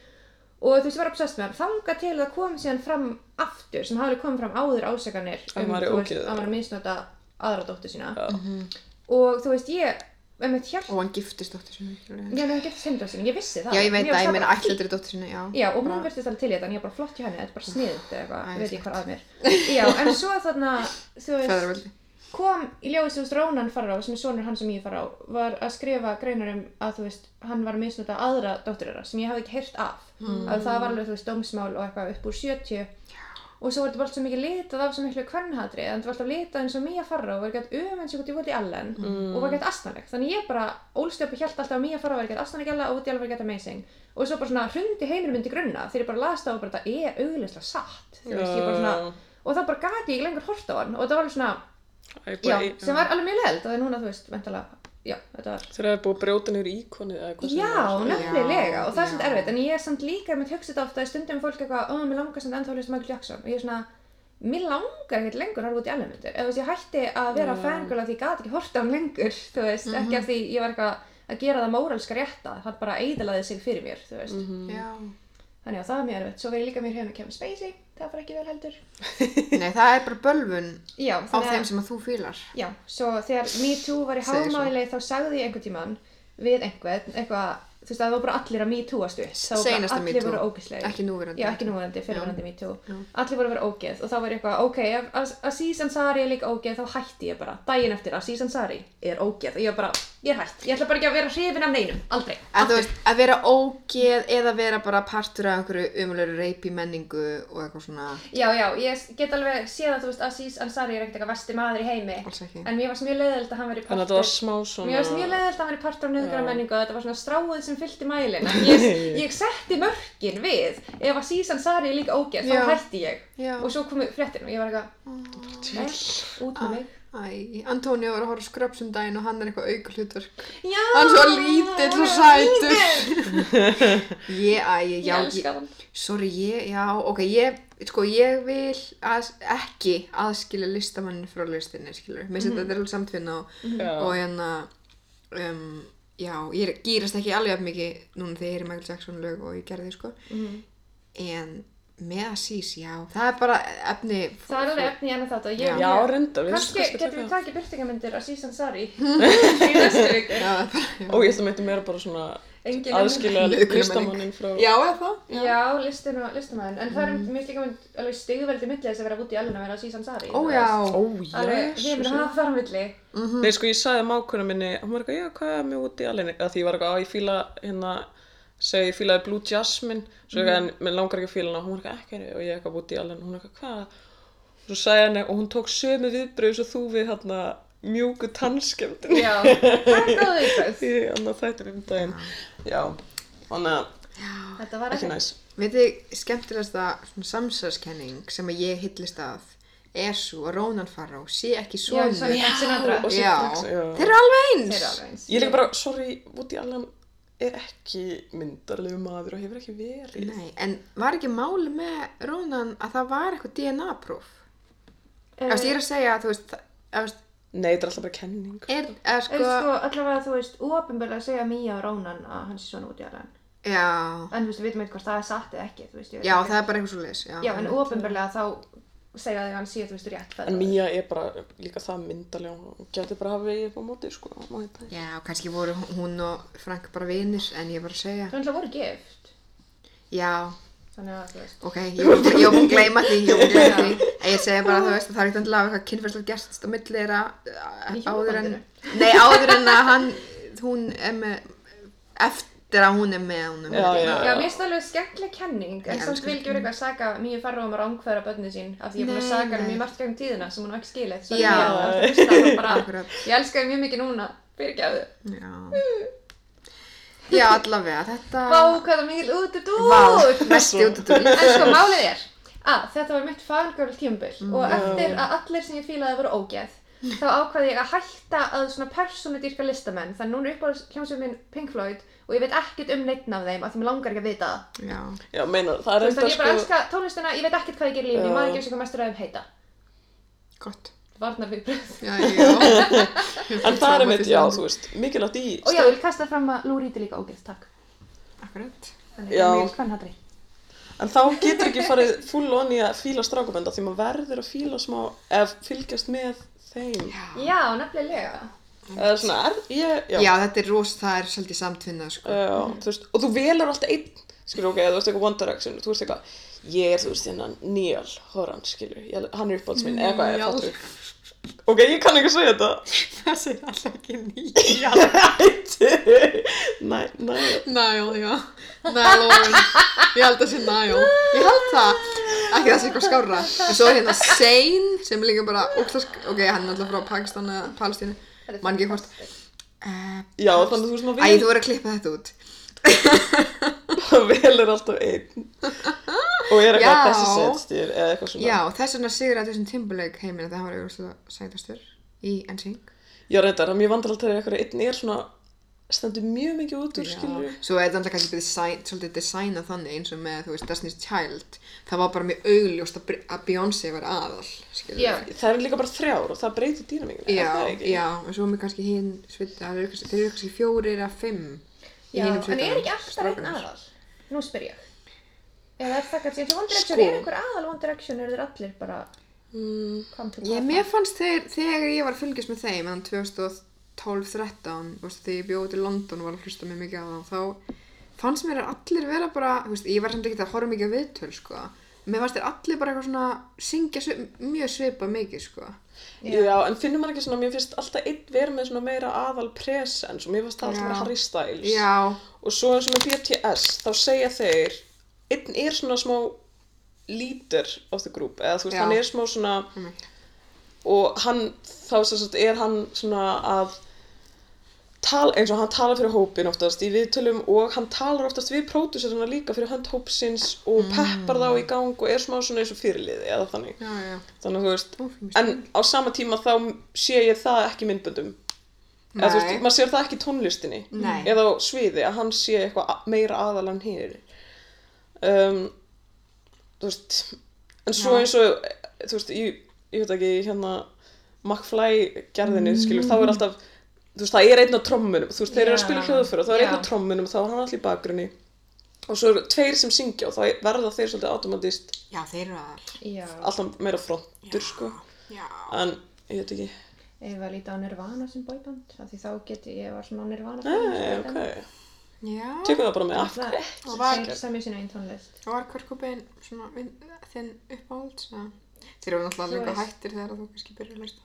Speaker 1: og þú veist, ég var obsessed með hann þanga til það kom síðan fram aftur sem hafði komið fram áður ásakanir um,
Speaker 3: Að maður er
Speaker 1: þú veist,
Speaker 3: ógeð-
Speaker 1: að maður er misnota aðra dóttu sína
Speaker 3: Já.
Speaker 1: og þú veist, ég, einmitt hjálp
Speaker 2: Og hann giftist dóttir sinni.
Speaker 1: Já, en hann getist heimdra sinni, ég vissi það.
Speaker 2: Já, ég veit
Speaker 1: var
Speaker 2: það, ég
Speaker 1: bara
Speaker 2: meina
Speaker 1: fín.
Speaker 2: ætlaður dóttir sinni, já.
Speaker 1: Já, og hún
Speaker 2: Bara-
Speaker 1: virtist alveg til í þetta, en ég er bara flott hjá henni, þetta er bara sniðut eða eitthvað,
Speaker 2: Æ,
Speaker 1: ég veit ekki hvað að mér. Já, en svo þarna, þú veist,
Speaker 2: Feðraveldi.
Speaker 1: kom í ljóðis, þú veist, Rónan fara á, sem er sonur hann sem ég fara á, var að skrifa greinar um að, þú veist, hann var að misnota aðra dóttur þeirra, sem ég hafði ekki heyrt af.
Speaker 2: Mm.
Speaker 1: Að það var alveg, þú veist, dómsmál og eitthvað upp úr 70. Og svo var þetta bara allt svo mikið litað af svo miklu kvennhatri, en þetta var alltaf litað eins og Mia Farrow var gett öfumens ykkur til Woody Allen
Speaker 3: Mm.
Speaker 1: og var gett astanleg. Þannig ég bara ólst upp og hjælt alltaf að Mia Farrow var gett astanleg alla og Woody Allen var gett amazing. Og svo bara svona hrundi heimurinn myndi grunna þegar ég bara las það og bara þetta er augljóslega satt. Þú veist, ég bara
Speaker 3: Já.
Speaker 1: svona, og þá bara gati ég ekki lengur hort á hann og það var alveg svona,
Speaker 3: Æ,
Speaker 1: já,
Speaker 3: bara í-
Speaker 1: sem var alveg mjög leðilt og það er núna, þú veist, ventalega, já, þetta var
Speaker 3: Þegar það er búið að brjóta niður íkonið eða hvað sem
Speaker 1: Já,
Speaker 3: það er.
Speaker 1: nefnilega, og það er samt
Speaker 2: já.
Speaker 1: erfitt en ég er samt líka með hugsa þetta ofta að stundum fólk eitthvað, ó, mér langar samt ennþá að hlusta Michael Jackson og ég er svona, mér langar ekkert lengur að horfa út í alveg myndir, eða þú veist, ég hætti að vera
Speaker 3: Já.
Speaker 1: fangirl af því ég gat ekki horta á hann lengur [laughs] þú veist, ekki af því ég var eitthvað að gera það móralska rétta, það bara eidilaði sig fyrir mér, þú veist,
Speaker 2: Já.
Speaker 1: þannig að það er mjög erfitt, svo verið líka mér hefðin að kemja Spacey, það var ekki vel heldur
Speaker 2: Nei, það er bara bölvun
Speaker 1: Já,
Speaker 2: á
Speaker 1: þannig
Speaker 2: þeim
Speaker 1: að,
Speaker 2: sem að þú fílar.
Speaker 1: já, svo þegar Me Too var í
Speaker 2: Segir svo.
Speaker 1: hámáli þá sagði ég einhvern tíman við einhvern, eitthvað, þú veist, það var bara allir að Me Too að stuð, þá var bara
Speaker 2: Seinasta Me
Speaker 1: allir
Speaker 2: Too.
Speaker 1: voru ógislegir
Speaker 2: Ekki núverandi.
Speaker 1: Já, ekki núverandi, fyrirverandi me too.
Speaker 2: Já.
Speaker 1: Allir voru að vera ógeð og þá var ég eitthvað, ok, ef As- Aziz Ansari er líka ógeð, þá hætti ég bara. Dæin eftir, Aziz Ansari er ógeð og ég var bara, ég er hætt. Ég ætla bara ekki að vera hrifin af neinum, aldrei.
Speaker 2: En þú veist, að vera ógeð eða vera bara partur af einhverju umlöru reypi menningu og eitthvað svona,
Speaker 1: Já, já, ég get alveg séð að þú veist, Aziz Ansari er ekkert eitthvað vesti maður í heimi.
Speaker 2: alls ekki.
Speaker 1: En mér varst mjög leiðilegt að hann veri
Speaker 3: Þannig að
Speaker 1: partur.
Speaker 3: þetta var smá svona...
Speaker 1: Mér varst mjög leiðilegt að hann veri partur af nöðgara
Speaker 3: Já.
Speaker 1: menningu og þetta var svona stráið sem fyllti mælinn. En Ég,
Speaker 2: [laughs]
Speaker 1: ég setti mörkin við, ef Aziz Ansari er líka ógeð, þá
Speaker 2: Já.
Speaker 1: hætti ég.
Speaker 2: Já.
Speaker 1: Og svo komu fréttin og ég var eitthvað,
Speaker 3: Til.
Speaker 1: nei, út með
Speaker 2: Ah.
Speaker 1: mig.
Speaker 2: Æ, Antonio var að horfa skröps um daginn og hann er eitthvað aukulhutverk.
Speaker 1: Já,
Speaker 2: Hann er svo lítill og sætur. Ég, æ, ég,
Speaker 1: Ég
Speaker 2: já, ég,
Speaker 1: elska hann.
Speaker 2: sorry, ég, já, ok, ég, sko, ég vil að, ekki aðskilja listamannin frá listinni, skilur. Mér
Speaker 1: Mhm.
Speaker 2: finnst þetta er alveg samtvinna og,
Speaker 3: Já.
Speaker 2: og hérna, um, já, ég er- gýrast ekki alveg jafn mikið núna þegar ég er Michael Jackson lög og ég gerði, sko.
Speaker 1: Mhm.
Speaker 2: En með að sís, já, það er bara efni.
Speaker 1: Það er alveg efni í annað þátt að ég...
Speaker 3: Já, reyndar, við um
Speaker 1: Kanski
Speaker 3: kannski
Speaker 1: getum við
Speaker 3: taka-
Speaker 1: takið byrtingamyndir af Season
Speaker 2: [laughs]
Speaker 1: Sari í næstu viku.
Speaker 2: Já, það er bara,
Speaker 3: Ó, ég held að mætti meira bara svona
Speaker 1: Engin
Speaker 3: aðskilja
Speaker 2: Nauðgunarmenning.
Speaker 3: listamannin frá...
Speaker 2: já, eða það?
Speaker 1: Já, listin og listamæðin. En það er mm. mér líka mynd alveg stigveldi millið þess að vera út í alveg að vera á Season Sari.
Speaker 2: Ó, já.
Speaker 3: Ó,
Speaker 1: Alveg, við erum að
Speaker 3: jæsus.
Speaker 1: hafa þar á milli.
Speaker 3: Nei, sko, ég sagði mákunum minni, hún var eitthvað, já, hvað er mjög út í alveg? Því ég var eitthvað, á, ég fíla, hérna, segi, ég fílaði Blue Jasmine,
Speaker 1: Mhm.
Speaker 3: svo eitthvað, en mér langar ekki að fíla hana, hún var eitthvað, ekki, henni, og ég eitthvað út í alveg, hún var eitthvað, hvað? Svo sagði henni, og hún tók sömu viðbröð svo þú við, hérna, mjúku tannskemdin.
Speaker 1: Já, [laughs] það er góð viðbröð.
Speaker 3: [laughs] Því, annað þættir um daginn. Já, þannig að,
Speaker 1: Þetta var
Speaker 3: ekki
Speaker 1: ekki.
Speaker 3: næs.
Speaker 2: Veit þið, skemmtilegasta svona samsæðskenning sem að ég hillist að er svo að Rónan Faró sé ekki
Speaker 1: Já,
Speaker 2: svona.
Speaker 1: sorry, Frank Sinatra.
Speaker 3: og-
Speaker 2: Já,
Speaker 3: Frank- já.
Speaker 2: þeir eru alveg
Speaker 1: Þeir
Speaker 2: eins.
Speaker 1: eru alveg eins.
Speaker 3: Ég er líka bara, sorry, Woody Allen er ekki myndarlegu maður og hefur ekki verið.
Speaker 2: Nei, en var ekki máli með Rónan að það var eitthvað DNA-próf?
Speaker 1: Eh,
Speaker 2: Ef þú veist, ég er að segja að þú veist, ef þú veist,
Speaker 3: Nei, þetta er alltaf bara kenning.
Speaker 2: er, er
Speaker 1: En
Speaker 2: sko,
Speaker 1: sko, allavega þú veist, óöpenbarlega segja Mía og Rónan að hann sé svona út í alveg.
Speaker 2: já,
Speaker 1: En þú veist, við veitum eitthvað hvort það er satt eða ekki, þú veist, ég veit
Speaker 2: já,
Speaker 1: ekki.
Speaker 2: það er bara eitthvað svo leis, já.
Speaker 1: Já, en ofinbarlega þá segja því að hann sé, þú veist, rétt
Speaker 3: En Mía er bara líka það myndalega, hún getur bara hafa vegið upp á móti, sko, á móti.
Speaker 2: Já, kannski voru hún og Frank bara vinir, en ég er bara að segja.
Speaker 1: Það er alltaf voru gift,
Speaker 2: Já,
Speaker 1: þannig að, þú veist,
Speaker 2: ok, ég var bara, ég var búin að gleyma því, ég var búin að gleyma því. En ég segja bara, þú veist, það er ekkert endilega eitthvað kynferðslega gerst á milli þeirra uh,
Speaker 1: Í
Speaker 2: áður en,
Speaker 1: hjónabandinu.
Speaker 2: nei, áður en að hann, hún er með, eftir að hún er með honum.
Speaker 3: Já, já.
Speaker 1: Já, mér finnst það alveg skemmtileg kenning, en
Speaker 2: Ég
Speaker 1: samt
Speaker 2: elska
Speaker 1: vil ekki vera eitthvað að saga Mía Farró um að rángfæra börni sín, af því ég er búin að
Speaker 2: Nei,
Speaker 1: saga hann
Speaker 2: nei.
Speaker 1: mjög margt gegn tíðina sem hún á ekki skilið, svo
Speaker 2: Já.
Speaker 1: Mía var alltaf fyrst að bara,
Speaker 2: Akkurat.
Speaker 1: ég elska þig mjög mikið núna, fyrirgjáðu.
Speaker 2: Já, já allavega, þetta
Speaker 1: Vá, hvað það er mikil út út
Speaker 2: Ah. Vá,
Speaker 1: út!
Speaker 2: mesti út úr
Speaker 1: En sko, málið er að þetta var mitt fangirl tímabil
Speaker 2: Mm.
Speaker 1: og
Speaker 3: Já.
Speaker 1: eftir að allir sem ég fílaði voru ógeð, þá ákvaði ég að hætta að svona persónudýrka listamenn, þannig núna er uppáðs hljómsveit minn Pink Floyd og ég veit ekkert um neittn af þeim af því mér langar ekki að vita það.
Speaker 2: Já,
Speaker 3: Já, meina, það er
Speaker 1: Þú veist,
Speaker 3: enda,
Speaker 1: þannig ég bara
Speaker 3: sko,
Speaker 1: elska tónlistina, ég veit ekkert hvað ég ger í lífinu, ég
Speaker 3: Já.
Speaker 1: maður ekki eins og hvað mestur aðeins heita.
Speaker 2: gott.
Speaker 1: Varnar við bröð.
Speaker 2: Já, já.
Speaker 3: en það er mitt, já, þú veist, mikilvægt í, sko.
Speaker 1: Og já, ég vil kasta fram að Lou Reed er líka ógeð, takk.
Speaker 2: Akkurat.
Speaker 1: Þannig
Speaker 3: Já.
Speaker 1: ég vil hvern hattri.
Speaker 3: en þá getur ekki farið full on í að fíla strákabenda því maður verður að fíla smá, ef fylgjast með þeim.
Speaker 1: Já, nefnilega.
Speaker 3: Eða svona, er, ég, já,
Speaker 2: Já, þetta er rost, það er svolítið samtvinnað, sko.
Speaker 3: já, þú veist, og þú velur alltaf einn, skilur, ok, eða þú ert eitthvað One Direction, þú ert eitthvað, ég er, þú veist, hérna, Neil Horan, skilur, ég, hann er uppáhalds minn, eða hvað,
Speaker 2: Já.
Speaker 3: eða fattur. Ok, ég kann ekki segja þetta.
Speaker 2: Það segir alltaf ekki nýja.
Speaker 3: Næ, næ,
Speaker 2: Næl, já. Næl Owen. Ég held að sé næl. Ég held það. Ekki það sé eitthvað skárra. En svo er hérna Zayn, sem er líka bara óglask... Ok, hann er alltaf frá Pakistan eða Palestínu. Man ekki hvort. Uh,
Speaker 3: já, þannig að þú veist, maður
Speaker 2: Æ,
Speaker 3: velur
Speaker 2: þú verður að klippa þetta út.
Speaker 3: Það velur alltaf einn og er eitthvað
Speaker 2: Já.
Speaker 3: þessi setstýr eða eitthvað svona
Speaker 2: Já, þess vegna sigur að þessum Timberlake heiminn að það var auðvitað sætastur í NSYNC.
Speaker 3: Já, reyndar, það er mjög vandrælt þegar eitthvað einn er svona stendur mjög mikið út úr
Speaker 2: Já.
Speaker 3: skilur
Speaker 2: Svo er þetta alltaf kannski design, svolítið designa þannig eins og með, þú veist, Destiny's Child. Það var bara mjög augljóst að Br- að Beyoncé var aðal, skilur.
Speaker 1: Já.
Speaker 3: Það er líka bara þrjár og það breytir dýnamíkina
Speaker 2: Já,
Speaker 3: er það ekki?
Speaker 2: já, og svo með kannski hinn svita, það eru kannski, þeir eru kannski fjórir að fimm í
Speaker 1: Já,
Speaker 2: hinum
Speaker 1: en er ekki alltaf einn
Speaker 2: strákarnir.
Speaker 1: aðal? Nú spyr ég. Eða er það kannski eins og One Direction,
Speaker 3: Sko.
Speaker 1: er einhver aðal One Direction, eru þeir allir bara
Speaker 3: Mm,
Speaker 1: come to
Speaker 2: Ég, mér fannst þeir, þegar ég var að fylgjast með þeim, en 2012-13, þú veist, þegar ég bjóði til London og var að hlusta mér mikið á þá, þá fannst mér að allir vera bara, þú veist, ég var samt ekki að horfa mikið að viðtöl, sko. Mér fannst þeir allir bara eitthvað svona, syngja svip, mjög svipa mikið, sko.
Speaker 3: já. en finnur maður ekki svona, mér finnst alltaf einn verið með svona meira aðal presens og mér finnst það alltaf
Speaker 2: Já.
Speaker 3: meira Harry Styles
Speaker 2: Já,
Speaker 3: og svo eins og með BTS þá segja þeir, einn er svona smá leader of the group eða þú veist,
Speaker 2: Já.
Speaker 3: hann er smá svona
Speaker 2: einmitt.
Speaker 3: og hann, þá sem sagt, er hann svona að tala, eins og hann talar fyrir hópin oftast í viðtölum og hann talar oftast við pródúsarina líka fyrir hönd hópsins og peppar þá í gang og er smá svona eins og fyrirliði eða þannig
Speaker 2: Mm. já, já.
Speaker 3: þannig að þú veist,
Speaker 2: Ó, fyrir mig
Speaker 3: en á sama tíma þá sé ég það ekki í myndböndum eða þú veist,
Speaker 2: Nei.
Speaker 3: maður sér það ekki í tónlistinni
Speaker 2: Nei.
Speaker 3: eða á sviði að hann sé eitthvað a- meira aðal en hér um, þú veist en svo
Speaker 2: Já.
Speaker 3: eins og þú veist, ég, ég veit ekki hérna McFly gerðinu, skilur, þá
Speaker 2: Mm.
Speaker 3: er alltaf þú veist, það er einn á trommunum þú veist, þeir eru að
Speaker 1: Já.
Speaker 3: spila hljóðfyrra, þá er
Speaker 1: Já.
Speaker 3: einn á trommunum þá er hann allir í bakgrunni og svo eru tveir sem syngja og þá verða þeir svolítið automatist
Speaker 2: Já, þeir eru aðal.
Speaker 1: Já,
Speaker 3: alltaf meira frontur, sko
Speaker 2: Já.
Speaker 3: en ég veit ekki
Speaker 1: ég var lítið á Nirvana sem boyband, af því þá geti ég var svona á Nirvana.
Speaker 3: Nei, ok,
Speaker 2: Já.
Speaker 3: tökum það bara með af
Speaker 1: Það
Speaker 3: hverju
Speaker 1: það
Speaker 2: var-
Speaker 1: er sem ég sinna einn tónlist.
Speaker 2: Og var Körkubein svona vin- þinn uppáhalds? eða? Þeir eru náttúrulega
Speaker 1: Þú veist.
Speaker 2: líka hættir þegar þú kannski byrjar að hlusta.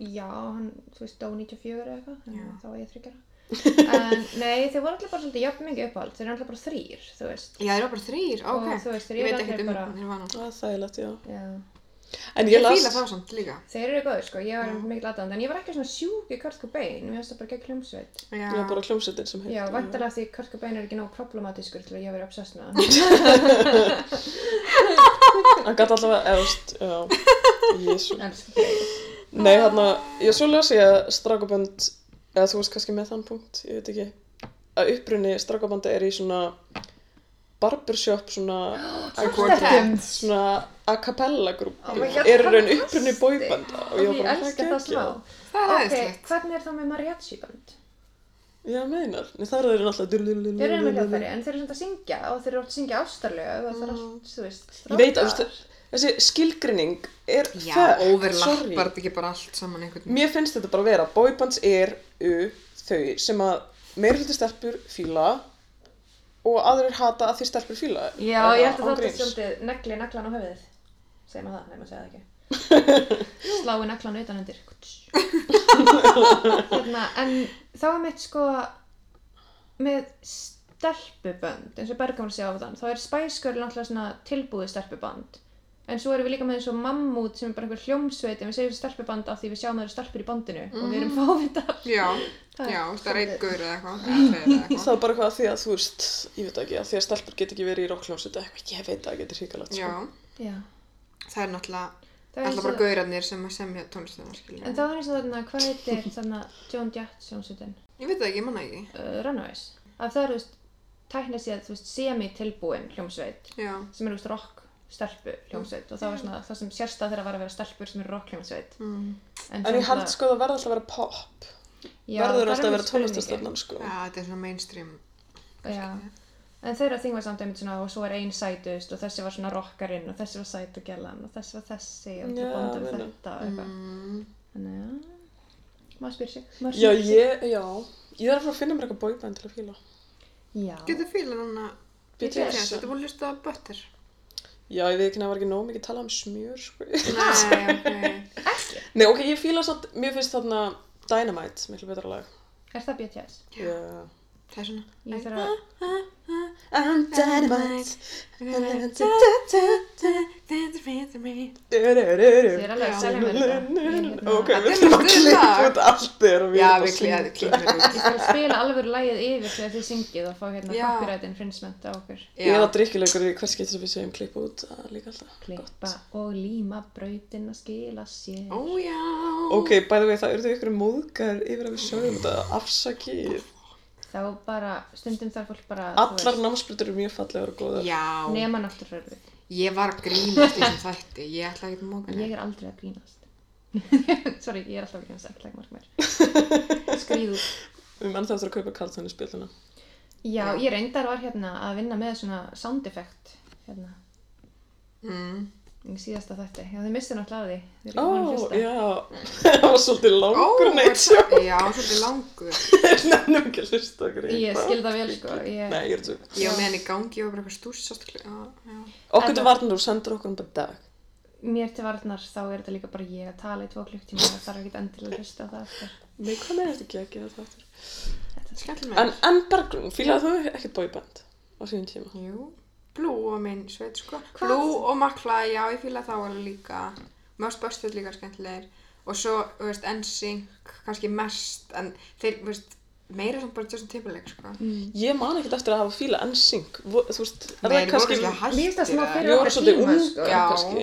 Speaker 1: Já, hann, þú veist, dó 94 eða eitthvað, þannig
Speaker 2: Já.
Speaker 1: að þá var ég þryggjara.
Speaker 3: [laughs]
Speaker 1: en nei, þeir voru allir bara svolítið jafn mikið uppáhald, þeir eru allir bara þrýr, þú veist.
Speaker 2: Já, þeir eru bara þrýr,
Speaker 1: Og
Speaker 2: ok.
Speaker 1: þú veist, þeir
Speaker 2: ég
Speaker 1: eru
Speaker 2: veit ekkert
Speaker 1: allir
Speaker 2: um
Speaker 1: bara-
Speaker 2: Nirvana.
Speaker 3: það er Ah, þægilegt, já
Speaker 1: Já.
Speaker 3: en
Speaker 2: Ég
Speaker 3: ég
Speaker 2: fíla
Speaker 3: las,
Speaker 2: þá samt líka.
Speaker 1: Þeir eru góðir, sko, ég var mikil aðdæðan, en ég var ekki svona sjúk í Kurt Cobain, mér finnst það bara gegn hljómsveit.
Speaker 2: Já,
Speaker 3: ég var bara hljómsettin sem
Speaker 1: Já,
Speaker 3: heitir
Speaker 1: vantarlega því Kurt Cobain er ekki nóg problematískur til að ég verið obsessed með
Speaker 3: [laughs]
Speaker 1: hann.
Speaker 3: hann gæti allavega eðust,
Speaker 1: [laughs]
Speaker 3: já jésu,
Speaker 1: Elsku Freyr.
Speaker 3: nei þarna ég svo las ég að strakabönd eða þú veist kannski með þann punkt, ég veit ekki að upprunni strakabönda er í svona barbershop
Speaker 1: [gasps]
Speaker 3: svona
Speaker 2: Quartet.
Speaker 3: svona a cappella grúpi
Speaker 1: Oh my God,
Speaker 3: eru raun upprunni
Speaker 1: fantastic.
Speaker 3: bóibanda og
Speaker 1: Og
Speaker 3: ég var
Speaker 1: ég
Speaker 3: bara
Speaker 1: elska það smá.
Speaker 3: geggjað.
Speaker 2: Það er
Speaker 1: Ok,
Speaker 2: aðeinslegt.
Speaker 1: hvernig er þá með mariachi band?
Speaker 3: já meinar, Nei, þar eru þeir náttúrulega
Speaker 1: Þeir eru með hljóðfæri, en þeir eru svona að syngja og þeir eru oft að syngja ástarlög og það er allt, þú veist,
Speaker 3: Ég veit að þú veist, þessi skilgrinning er
Speaker 2: Já,
Speaker 3: þökk, sorry.
Speaker 2: overlappar þetta ekki bara allt saman einhvern veginn.
Speaker 3: Mér finnst þetta bara að vera Boybands er u, þau sem að meira hluti stelpur fíla og aðrir hata að því stelpur fíla
Speaker 1: Já,
Speaker 3: Eða
Speaker 1: ég held að
Speaker 3: án
Speaker 1: þetta er
Speaker 3: gríns.
Speaker 1: svolítið negli naglan á höfuðið. Segir maður það, nei maður segja það ekki. Slái naglan utan undir. hérna, en þá er mitt sko með stelpubönd, eins og Bergamur sé á þann, þá er Spice Girl náttúrulega svona tilbúið stelpuband. En svo erum við líka með eins og Mammút sem er bara einhver hljómsveit en við segjum stelpuband af því við sjáum að það eru stelpur í bandinu og við erum fávitar.
Speaker 2: Já,
Speaker 1: Það er
Speaker 2: já, það er
Speaker 1: svolítið-
Speaker 2: eitthvað eða eitthvað. eða
Speaker 3: [laughs]
Speaker 2: tveir eða
Speaker 3: Það
Speaker 2: eitthvað.
Speaker 3: er bara eitthvað því að þú veist, ég veit ekki, að því að stelpur get ekki verið í rockljómsveit eða eitthvað, ég veit að það getur hrikalegt
Speaker 2: Já,
Speaker 3: sko.
Speaker 1: Já.
Speaker 2: það er náttúrulega,
Speaker 1: Það er eins
Speaker 2: alltaf bara
Speaker 1: og-
Speaker 2: gaurarnir sem að semja tónlistina, skiljum.
Speaker 1: En það var eins og þarna, hvað heitir þarna Joan Jett sjónsveitin?
Speaker 2: Ég veit það ekki, ég manna ekki.
Speaker 1: uh, Runaways að það eru, þú veist, tækna sér þú veist, semi-tilbúin hljómsveit
Speaker 2: Já,
Speaker 1: sem eru, þú veist, rock stelpu hljómsveit og það var svona það sem sérstað þeirra var að vera stelpur sem eru rock hljómsveit
Speaker 2: mm.
Speaker 3: En ég held sko að það verður alltaf að vera pop, verður alltaf að vera tónlistastöfnan sko.
Speaker 2: já, þetta er svona mainstream.
Speaker 1: tónlistastöfnan en þeirra þing var samt einmitt svona og svo er ein sætust og þessi var svona rockarinn og þessi var sætugjallan og þessi var þessi og
Speaker 3: Já,
Speaker 1: það bandið
Speaker 3: meina.
Speaker 1: við þetta og eitthvað
Speaker 2: Mm.
Speaker 1: þannig að maður spyr sig maður
Speaker 3: Já,
Speaker 1: spyr sig.
Speaker 3: ég, já, ég þarf að fara að finna mér eitthvað boyband til að fíla.
Speaker 1: Já.
Speaker 2: Getur fílar hann að
Speaker 1: BTS.
Speaker 2: BTS, þetta búin að hlusta á Butter.
Speaker 3: Já, ég veit ekki að það var ekki nóg mikið að tala um smjör, sko. [laughs]
Speaker 2: Nei, ok.
Speaker 3: Nei, ok, ég fíla samt, mér finnst þarna Dynamite, miklu betra lag.
Speaker 1: er það BTS?
Speaker 3: Yeah.
Speaker 2: Það er svona.
Speaker 1: Ég þarf að-
Speaker 3: I'm
Speaker 2: dynamite.
Speaker 1: Ég er
Speaker 3: Ok,
Speaker 1: alveg að selja mér þetta Ég er hérna-
Speaker 3: við þurfum
Speaker 2: Þetta
Speaker 3: að
Speaker 2: er
Speaker 3: klippa
Speaker 2: stuðlag.
Speaker 3: út allt þegar við
Speaker 2: Já,
Speaker 3: erum að
Speaker 2: við
Speaker 3: syngja.
Speaker 2: klýðum út.
Speaker 1: Ég
Speaker 3: [laughs]
Speaker 1: skal spila alveg lægið yfir þegar þið syngið og fá hérna
Speaker 2: Já.
Speaker 1: copyright infringement á okkur.
Speaker 3: Eða drikkilegur í hvers getur við segjum klippa út það er líka alltaf.
Speaker 1: Klippa og líma brautin að skila sér.
Speaker 2: Ó Oh, já.
Speaker 3: Ok, bæði við það urðu ykkur móðgar yfir að við sögum þetta afsakið.
Speaker 1: Þá bara, stundum þarf fólk bara,
Speaker 3: Allar námsbrytur eru mjög fallegar og góðar.
Speaker 2: Já,
Speaker 1: nema náttúrfröðu.
Speaker 2: ég var að grínast í þessum þætti, ég ætla ekki að móka
Speaker 1: Ég
Speaker 2: neitt.
Speaker 1: er aldrei að grínast. Sorry, ég er alltaf að grínast, ekki lagmark mér. Skrýð út.
Speaker 3: Við erum ennþá eftir að kaupa kallt henni spiluna.
Speaker 1: Já, ég reyndar var hérna að vinna með svona sound effect hérna
Speaker 2: Mm.
Speaker 1: í síðasta þætti. Já, þið missið náttúrulega af því. Þið eru
Speaker 3: Ó,
Speaker 1: ekki búin að hlusta.
Speaker 3: já. [laughs] Það var svolítið
Speaker 2: Ó,
Speaker 3: langur
Speaker 2: er-
Speaker 3: neitt sjá.
Speaker 2: Já, svolítið langur.
Speaker 3: Nennum ekki að hlusta okkur.
Speaker 1: Ég skil það vel, sko. Ég-
Speaker 3: Nei, ég er tjóð.
Speaker 2: Ég var með henni í gangi, ég var bara eitthvað stúsast. Já, já.
Speaker 3: Okkur
Speaker 1: En-
Speaker 3: til varnar og sendur okkur um bara dag.
Speaker 1: Mér til varnar þá er þetta líka bara ég að tala í tvo klukktíma og það þarf ekki endilega að hlusta á það eftir.
Speaker 3: Nei, hvað með þetta ekki að gera þetta aftur?
Speaker 2: Skellum
Speaker 3: En, en Bergrún, fílaði þú ekkert boyband á síðan tíma?
Speaker 2: Jú, Blue var minn sveit sko. Blue og Makla, já, ég fíla þá alveg líka. Mörst Börstöld líka skemmtilegir. Og svo, þú veist, NSYNC kannski mest, en þeir, þú veist, meira samt bara Justin Timberlake sko.
Speaker 1: Mm.
Speaker 3: Ég man ekkert eftir að hafa fíla NSYNC. Vo- Þú veist, er
Speaker 2: Meira
Speaker 3: það kannski...
Speaker 2: voru hættir
Speaker 1: Mér finnst það smá
Speaker 2: að-
Speaker 1: fyrir-
Speaker 3: Við vorum svolítið
Speaker 1: Tíma,
Speaker 3: ungar
Speaker 1: sko.
Speaker 2: Já.
Speaker 3: kannski.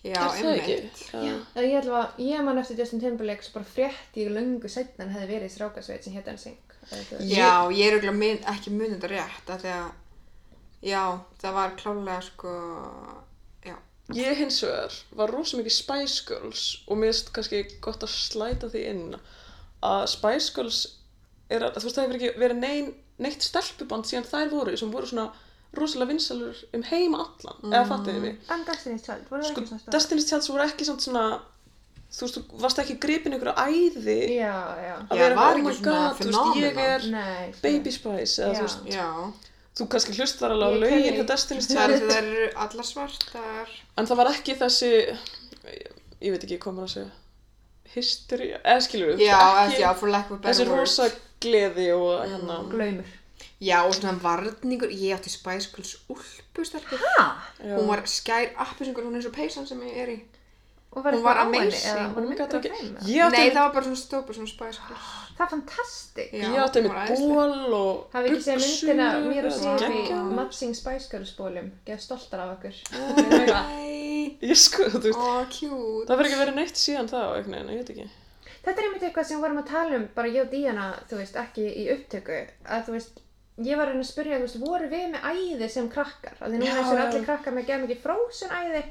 Speaker 2: Já,
Speaker 3: er það ekki?
Speaker 2: einmitt.
Speaker 1: Já, eða ég ætla að, ég man eftir Justin Timberlake svo bara frétt í löngu setna en hefði verið í strákasveit sem hétt NSYNC. eða þú veist.
Speaker 2: Já, ég er auðvitað mun, ekki munið þetta rétt, af því að, já, það var klálega sko, já.
Speaker 3: Ég hins vegar var rosa mikið Spice Girls og mér finnst kannski gott að slæta því inn að Spice Girls er að, þú veist, það hefur ekki verið nein, neitt stelpuband síðan þær voru sem voru svona rosalega vinsalur um heima allan,
Speaker 1: Mm.
Speaker 3: eða fattiði mig.
Speaker 1: En Destiny's Child, voru það
Speaker 3: Sko,
Speaker 1: ekki svona stóð?
Speaker 3: Destiny's Child voru ekki samt svona, þú veist, þú varst ekki gripin ykkur að æði
Speaker 1: Já, já.
Speaker 3: að
Speaker 2: Já,
Speaker 3: vera
Speaker 2: var
Speaker 3: eitthvað, oh
Speaker 2: ekki
Speaker 3: my
Speaker 2: svona
Speaker 3: god, þú veist, ég
Speaker 2: phenomenon.
Speaker 3: er
Speaker 1: Nei. sko.
Speaker 3: Baby Spice, eða
Speaker 1: Já.
Speaker 3: þú veist,
Speaker 2: Já,
Speaker 3: þú kannski hlustar alveg á
Speaker 1: Ég
Speaker 3: lögin
Speaker 1: kenni-
Speaker 3: hjá
Speaker 1: [laughs]
Speaker 3: Destiny's
Speaker 2: það
Speaker 3: Child,
Speaker 2: eru- þær eru allar svartar.
Speaker 3: en það var ekki þessi, ég, ég veit ekki, komur að segja, history, eða skilur við,
Speaker 2: Já,
Speaker 3: ekki
Speaker 2: já, for lack of a better
Speaker 3: þessi
Speaker 2: word.
Speaker 3: rosa gleði og hérna,
Speaker 1: Glaumur.
Speaker 2: Já, og svona varningur, ég átti Spice Girls úlpu stelpur.
Speaker 3: já.
Speaker 2: Hún var skær appisengur, hún er eins og peysan sem ég er í.
Speaker 1: Og
Speaker 2: Hún
Speaker 1: var
Speaker 2: var
Speaker 1: eitthvað á henni,
Speaker 2: amazing.
Speaker 1: eða var
Speaker 3: Hún gat
Speaker 1: myndir af
Speaker 3: ekki-
Speaker 1: þeim, eða?
Speaker 3: Ég átti
Speaker 2: Nei,
Speaker 3: einmitt-
Speaker 2: það var bara svona stópur, svona Spice Girls.
Speaker 1: Það er fantastik.
Speaker 2: Já.
Speaker 3: ég átti
Speaker 2: hún
Speaker 3: með
Speaker 2: var æðisleg.
Speaker 3: ból og
Speaker 1: Hafið ekki séð myndina mér og
Speaker 3: eða
Speaker 1: Sigur í
Speaker 3: geggjað.
Speaker 1: Mapsing Spice Girls bólum, geð stoltar af okkur.
Speaker 2: Æ,
Speaker 3: Ég sko, þú veist,
Speaker 2: ó, cute.
Speaker 3: það verður ekki verið neitt síðan þá, einhvern veginn, ég veit ekki.
Speaker 1: Þetta er einmitt eitthvað sem við vorum að tala um, bara ég og Díana, þú veist, ekki í upptöku, að þú veist, ég var að reyna að spyrja, þú veist, voru við með æði sem krakkar? Af því núna
Speaker 3: Já,
Speaker 1: þessu
Speaker 3: já.
Speaker 1: allir krakkar með gæm ekki frozen æði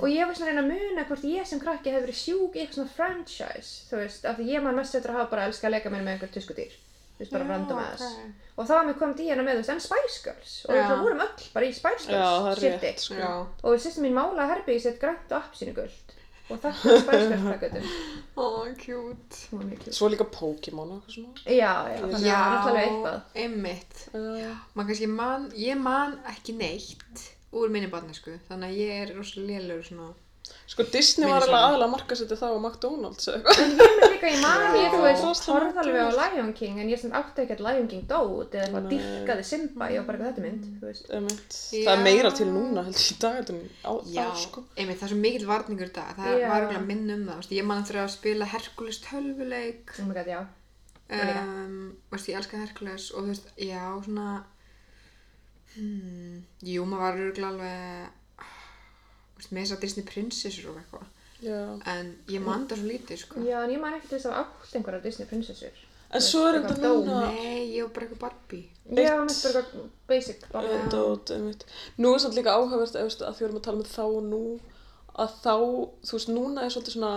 Speaker 1: og ég var svona að reyna að muna hvort ég sem krakki hefði verið sjúk í eitthvað svona franchise, þú veist, af því ég maður mest eftir að hafa bara elskað að leika mér með einhver tuskudýr. þú veist, bara
Speaker 2: Já,
Speaker 1: random ass
Speaker 2: ok.
Speaker 1: og þá var mér komið í hana með, þú veist, en Spice Girls og
Speaker 2: Já.
Speaker 1: við bara vorum öll bara í Spice
Speaker 3: Já, það
Speaker 1: Girls
Speaker 3: er
Speaker 1: shirti.
Speaker 3: rétt, sko.
Speaker 2: Já.
Speaker 1: og sýstum mín málaði herbyggis eitt grænt og appsínugult og það var Spice Girls plakatum
Speaker 2: Ó, cute.
Speaker 1: hún var mjög kjúl
Speaker 3: Svo líka Pokémon og eitthvað svona.
Speaker 1: já, já, þannig að það var alltaf eitthvað
Speaker 2: einmitt.
Speaker 3: Já.
Speaker 2: Man kannski man, ég man ekki neitt úr minni barnesku, þannig að ég er rosalega lélegur svona.
Speaker 3: Sko Disney var
Speaker 2: Minnisvarði.
Speaker 3: alveg aðalega að markasetja það á McDonalds eða eitthvað.
Speaker 1: Ég er líka í man, ég þú
Speaker 3: Já.
Speaker 1: veist, horfði alveg á Lion King en ég sem átti ekkert Lion King dót eða eitthvað
Speaker 3: Nei.
Speaker 1: dýrkaði Simba, ég var bara eitthvað þetta er mynd, þú veist.
Speaker 3: Einmitt.
Speaker 2: Já.
Speaker 3: Það er meira til núna heldur í dag heldur en á þá sko.
Speaker 2: einmitt, það er svo mikill varningur í dag. Það
Speaker 1: Já.
Speaker 2: var ekki að minna um það, veist, ég man eftir að spila Herkules tölvuleik.
Speaker 1: Oh my god, já. Og líka.
Speaker 2: Um, veist, ég elska Herkules og þú veist, já, svona, hmm, jú, maður var örgulega alveg, veist, með þess að Disney prinsessur og eitthvað.
Speaker 3: Já.
Speaker 2: En ég
Speaker 1: Mm.
Speaker 2: man það svo lítið, sko.
Speaker 1: Já, en ég man ekkert þess að hafa átt einhverja Disney prinsessur.
Speaker 3: En svo er
Speaker 1: Eitthvað
Speaker 3: þetta núna
Speaker 2: Nei, ég var bara eitthvað Barbie. [laughs]
Speaker 1: Já, hann er bara eitthvað basic. bara-
Speaker 2: Já.
Speaker 3: dót, einmitt. Nú er svolítið líka áhugavert eða, veist, að því við erum að tala um þá og nú að þá, þú veist, núna er svolítið svona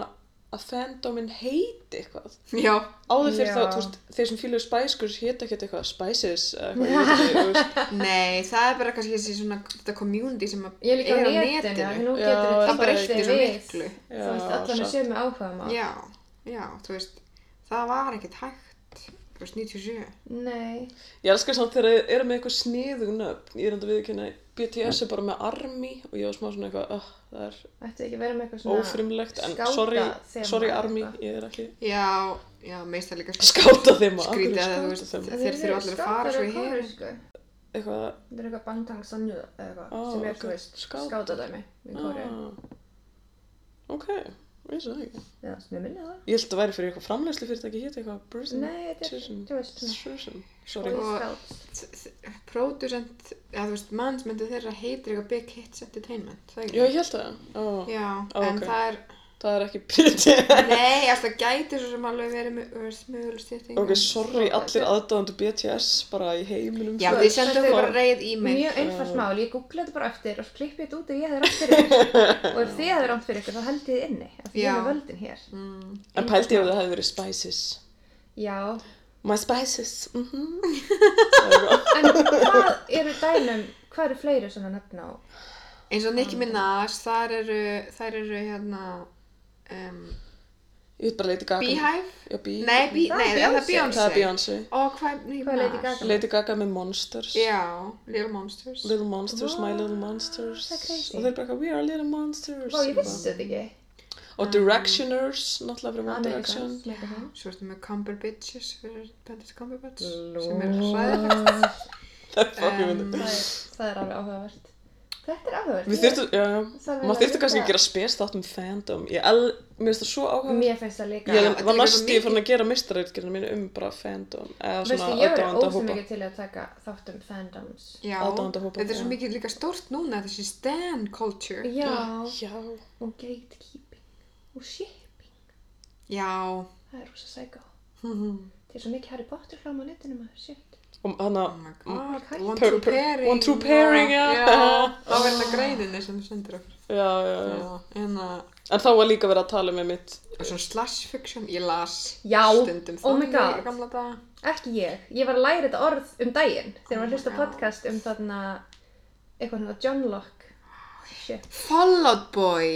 Speaker 3: að fandomin heiti eitthvað.
Speaker 2: Já,
Speaker 3: Áður fyrir
Speaker 1: Já.
Speaker 3: þá, þú veist, þeir sem fýlur Spice Girls hétt ekkert eitthvað Spices eða eitthvað, ég veit ekki, þú veist.
Speaker 2: nei, það er bara kannski þessi svona þetta community sem að
Speaker 1: Ég er líka á
Speaker 2: er
Speaker 1: netinu, af því nú
Speaker 3: Já,
Speaker 1: getur
Speaker 3: það
Speaker 1: við
Speaker 2: breytti svo miklu.
Speaker 1: Þú veist,
Speaker 3: Já,
Speaker 1: allan er
Speaker 3: satt.
Speaker 1: sömu áhuga maður.
Speaker 2: Já, já, þú veist, það var ekkert hægt, þú veist, 97.
Speaker 1: Nei.
Speaker 3: Ég elskar samt þegar þeir eru með eitthvað sniðug nöfn. Ég er enda viðkynna, BTS er bara með Army og ég var smá svona eitthvað, uh, það er
Speaker 1: Ætti ekki að vera með eitthvað svona...
Speaker 3: ófrumlegt, en
Speaker 1: skáta
Speaker 3: sorry,
Speaker 1: þema
Speaker 3: sorry
Speaker 1: eða
Speaker 3: Army,
Speaker 1: eitthvað.
Speaker 3: ég er ekki
Speaker 2: Já, já, meist það líka
Speaker 3: skáta þeim að
Speaker 2: Skrítið að þú
Speaker 3: skáta
Speaker 2: veist,
Speaker 3: þeim
Speaker 2: þeir þurfa allir að fara svo
Speaker 1: Skátar eru
Speaker 2: í hér.
Speaker 1: kóresku.
Speaker 3: eitthvað,
Speaker 1: Það er eitthvað Bangtang Sanju eða eitthvað
Speaker 3: Ó,
Speaker 1: sem er,
Speaker 3: ok.
Speaker 1: þú veist,
Speaker 3: Skátar.
Speaker 1: skátadæmi í Kóru.
Speaker 3: ah, ok, ég svo ekki
Speaker 1: Já, sem ég minni það.
Speaker 3: ég held að væri fyrir eitthvað framlegslu fyrirtæki hétt eitthvað Burson,
Speaker 1: Nei, þetta er,
Speaker 3: Susan,
Speaker 1: þú veist, svona... Sko-
Speaker 3: Susan, sorry
Speaker 2: Og-
Speaker 1: Scouts.
Speaker 2: Producent, já, þú veist, mannsmyndu þeirra heitir eitthvað Big Hits Entertainment, það
Speaker 3: já,
Speaker 2: ekki?
Speaker 3: ég held það, oh,
Speaker 2: Já,
Speaker 3: Ó,
Speaker 2: en
Speaker 3: ok.
Speaker 2: það er,
Speaker 3: það er ekki BTS [laughs]
Speaker 2: nei, alltaf gæti svo sem alveg verið með, þú veist, möguleg styrting.
Speaker 3: ok, sorry, allir aðdáðandu BTS bara í heiminum
Speaker 2: Já,
Speaker 3: sko.
Speaker 2: þið sendum
Speaker 1: Þetta er
Speaker 2: bara
Speaker 1: bara-
Speaker 2: reyð e-mail.
Speaker 1: Mjög einfalt mál, ég googla þetta bara eftir og klippi þetta út ef ég hefði rátt fyrir ykkur
Speaker 3: [laughs]
Speaker 1: og ef þið hefði rátt fyrir ykkur þá held ég þið inni af því
Speaker 2: Já.
Speaker 1: ég hefði völdin hér
Speaker 2: Mm.
Speaker 3: en pældi ég að það hefði verið Spices
Speaker 1: Já,
Speaker 3: my Spices mhm
Speaker 1: en hvað eru dænum, hvað eru fleiri svona nöfn á?
Speaker 2: eins og Nicki Minaj, þar eru, þær eru hérna um,
Speaker 3: ég veit bara Lady Gaga
Speaker 2: Beehive?
Speaker 3: já, Bee
Speaker 2: Nei, bí,
Speaker 1: Það er
Speaker 2: nei er það er
Speaker 1: Beyoncé.
Speaker 2: Beyoncé.
Speaker 3: það er Beyoncé
Speaker 2: Og hvað, Nicki
Speaker 1: Hvað er Lady
Speaker 2: Minaj?
Speaker 1: Gaga?
Speaker 3: Lady Gaga með Monsters
Speaker 2: Já, Little Monsters.
Speaker 3: Little Monsters, My Little Monsters
Speaker 1: það er crazy.
Speaker 3: og þeir bara eitthvað, We are Little Monsters
Speaker 1: Vá, ég vissi þetta ekki
Speaker 3: og Directioners, náttúrulega fyrir One Direction [laughs]
Speaker 1: Amerikans, meika það.
Speaker 2: Svo ertu með Cumber Bitches, fyrir Bandits Cumber Bitches,
Speaker 1: Lord.
Speaker 2: sem er hræðilegt.
Speaker 3: það er fucking
Speaker 2: Um,
Speaker 3: um,
Speaker 1: Það er- það er alveg áhugavert Þetta er áhugavert
Speaker 3: við
Speaker 1: Ég-
Speaker 3: þyrftum, já, já,
Speaker 1: Það er
Speaker 3: maður þyrftum
Speaker 1: líka-
Speaker 3: kannski að gera spes þátt um fandom, ég el, mér finnst það svo áhuga
Speaker 1: Mér finnst það líka
Speaker 3: ég
Speaker 2: þetta er
Speaker 3: var
Speaker 2: líka svo
Speaker 3: næstu
Speaker 2: mikið.
Speaker 3: fann að gera mistarreitkjörnum mínu um bara fandom eða
Speaker 1: Veistu,
Speaker 3: svona
Speaker 1: ég verið
Speaker 3: aðdáðanda
Speaker 1: ósum
Speaker 3: hópa
Speaker 1: mikið til að taka þátt um fandoms
Speaker 2: Já,
Speaker 3: Aðdáendahópar,
Speaker 2: þetta er svo
Speaker 3: já.
Speaker 2: mikið líka stórt núna, þessi stan culture.
Speaker 1: Já,
Speaker 3: já,
Speaker 1: og gatekeeping og shipping
Speaker 2: Já, [laughs]
Speaker 1: Það er rosa sækó
Speaker 2: oh
Speaker 1: Það er svo mikið Harry Potter hlám á netinu maður, shit.
Speaker 3: og hann að
Speaker 2: my god,
Speaker 1: Hæ.
Speaker 2: One
Speaker 3: Per-
Speaker 2: True
Speaker 3: per-
Speaker 2: Pairing.
Speaker 3: One True Pairing, já.
Speaker 2: Já, þá verður það greininni sem þú sendir okkur.
Speaker 3: já, já, já,
Speaker 2: Já, hérna, en að...
Speaker 3: en þá var líka verið að tala með mitt
Speaker 2: Og svona slash fiction, ég las
Speaker 1: Já,
Speaker 2: stundum
Speaker 1: oh my god.
Speaker 2: í gamla daga.
Speaker 1: Ekki ég, ég var að læra þetta orð um daginn þegar maður hlusta á
Speaker 2: Já.
Speaker 1: podcast um þarna eitthvað svona John Locke. Shit.
Speaker 2: Fallout Boy,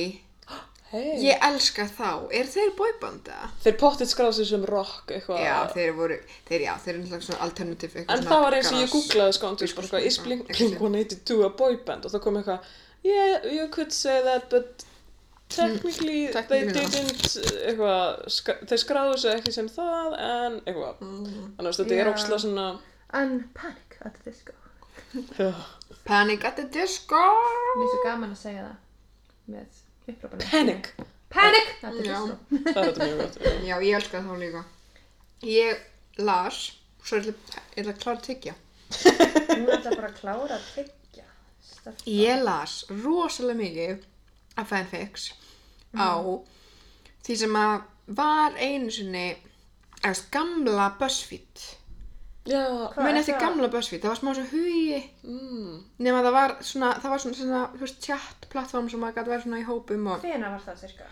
Speaker 1: Mm.
Speaker 3: hey.
Speaker 2: ég elska þá, er þeir boybanda?
Speaker 3: þeir pottit skráð sér sem rock eitthvað
Speaker 2: Já, þeir voru, þeir já, þeir eru náttúrulega svona alternative eitthvað
Speaker 3: En
Speaker 2: svona
Speaker 3: það var eins og ég
Speaker 2: garage.
Speaker 3: googlaði sko, skándur bara eitthvað, is Blink Blink 182 a boy band og þá kom eitthvað, yeah, you could say that, but technically they
Speaker 2: Hmm, technically not.
Speaker 3: didn't, eitthvað, sk þeir skráðu sig ekki sem það, en eitthvað,
Speaker 2: Hmm.
Speaker 3: þannig að þetta
Speaker 1: Já.
Speaker 3: er ókslega svona,
Speaker 1: And panic at the disco.
Speaker 3: já,
Speaker 2: Panic at the Disco!
Speaker 1: Mér er svo gaman að segja það með upprópunum.
Speaker 3: panic,
Speaker 1: Panic at the
Speaker 2: Já.
Speaker 1: disco.
Speaker 3: það er þetta mjög gott, já.
Speaker 2: Já, ég elska þá líka. Ég las, svo ég ætla ég ætla að klára að tyggja.
Speaker 1: Hún ætla bara að klára að tyggja. Stelpa.
Speaker 2: Ég las rosalega mikið af fanfics
Speaker 1: Mhm.
Speaker 2: á því sem að var einu sinni, eða gamla BuzzFeed.
Speaker 3: Já,
Speaker 1: Hvað
Speaker 2: Muna
Speaker 1: er
Speaker 2: eftir
Speaker 1: það?
Speaker 2: gamla BuzzFeed, það var smá svo hugi
Speaker 3: mm,
Speaker 2: nema það var svona, það var svona, svona þú veist, chat platform sem maður gæti verið svona í hópum og
Speaker 1: Hvena var það cirka?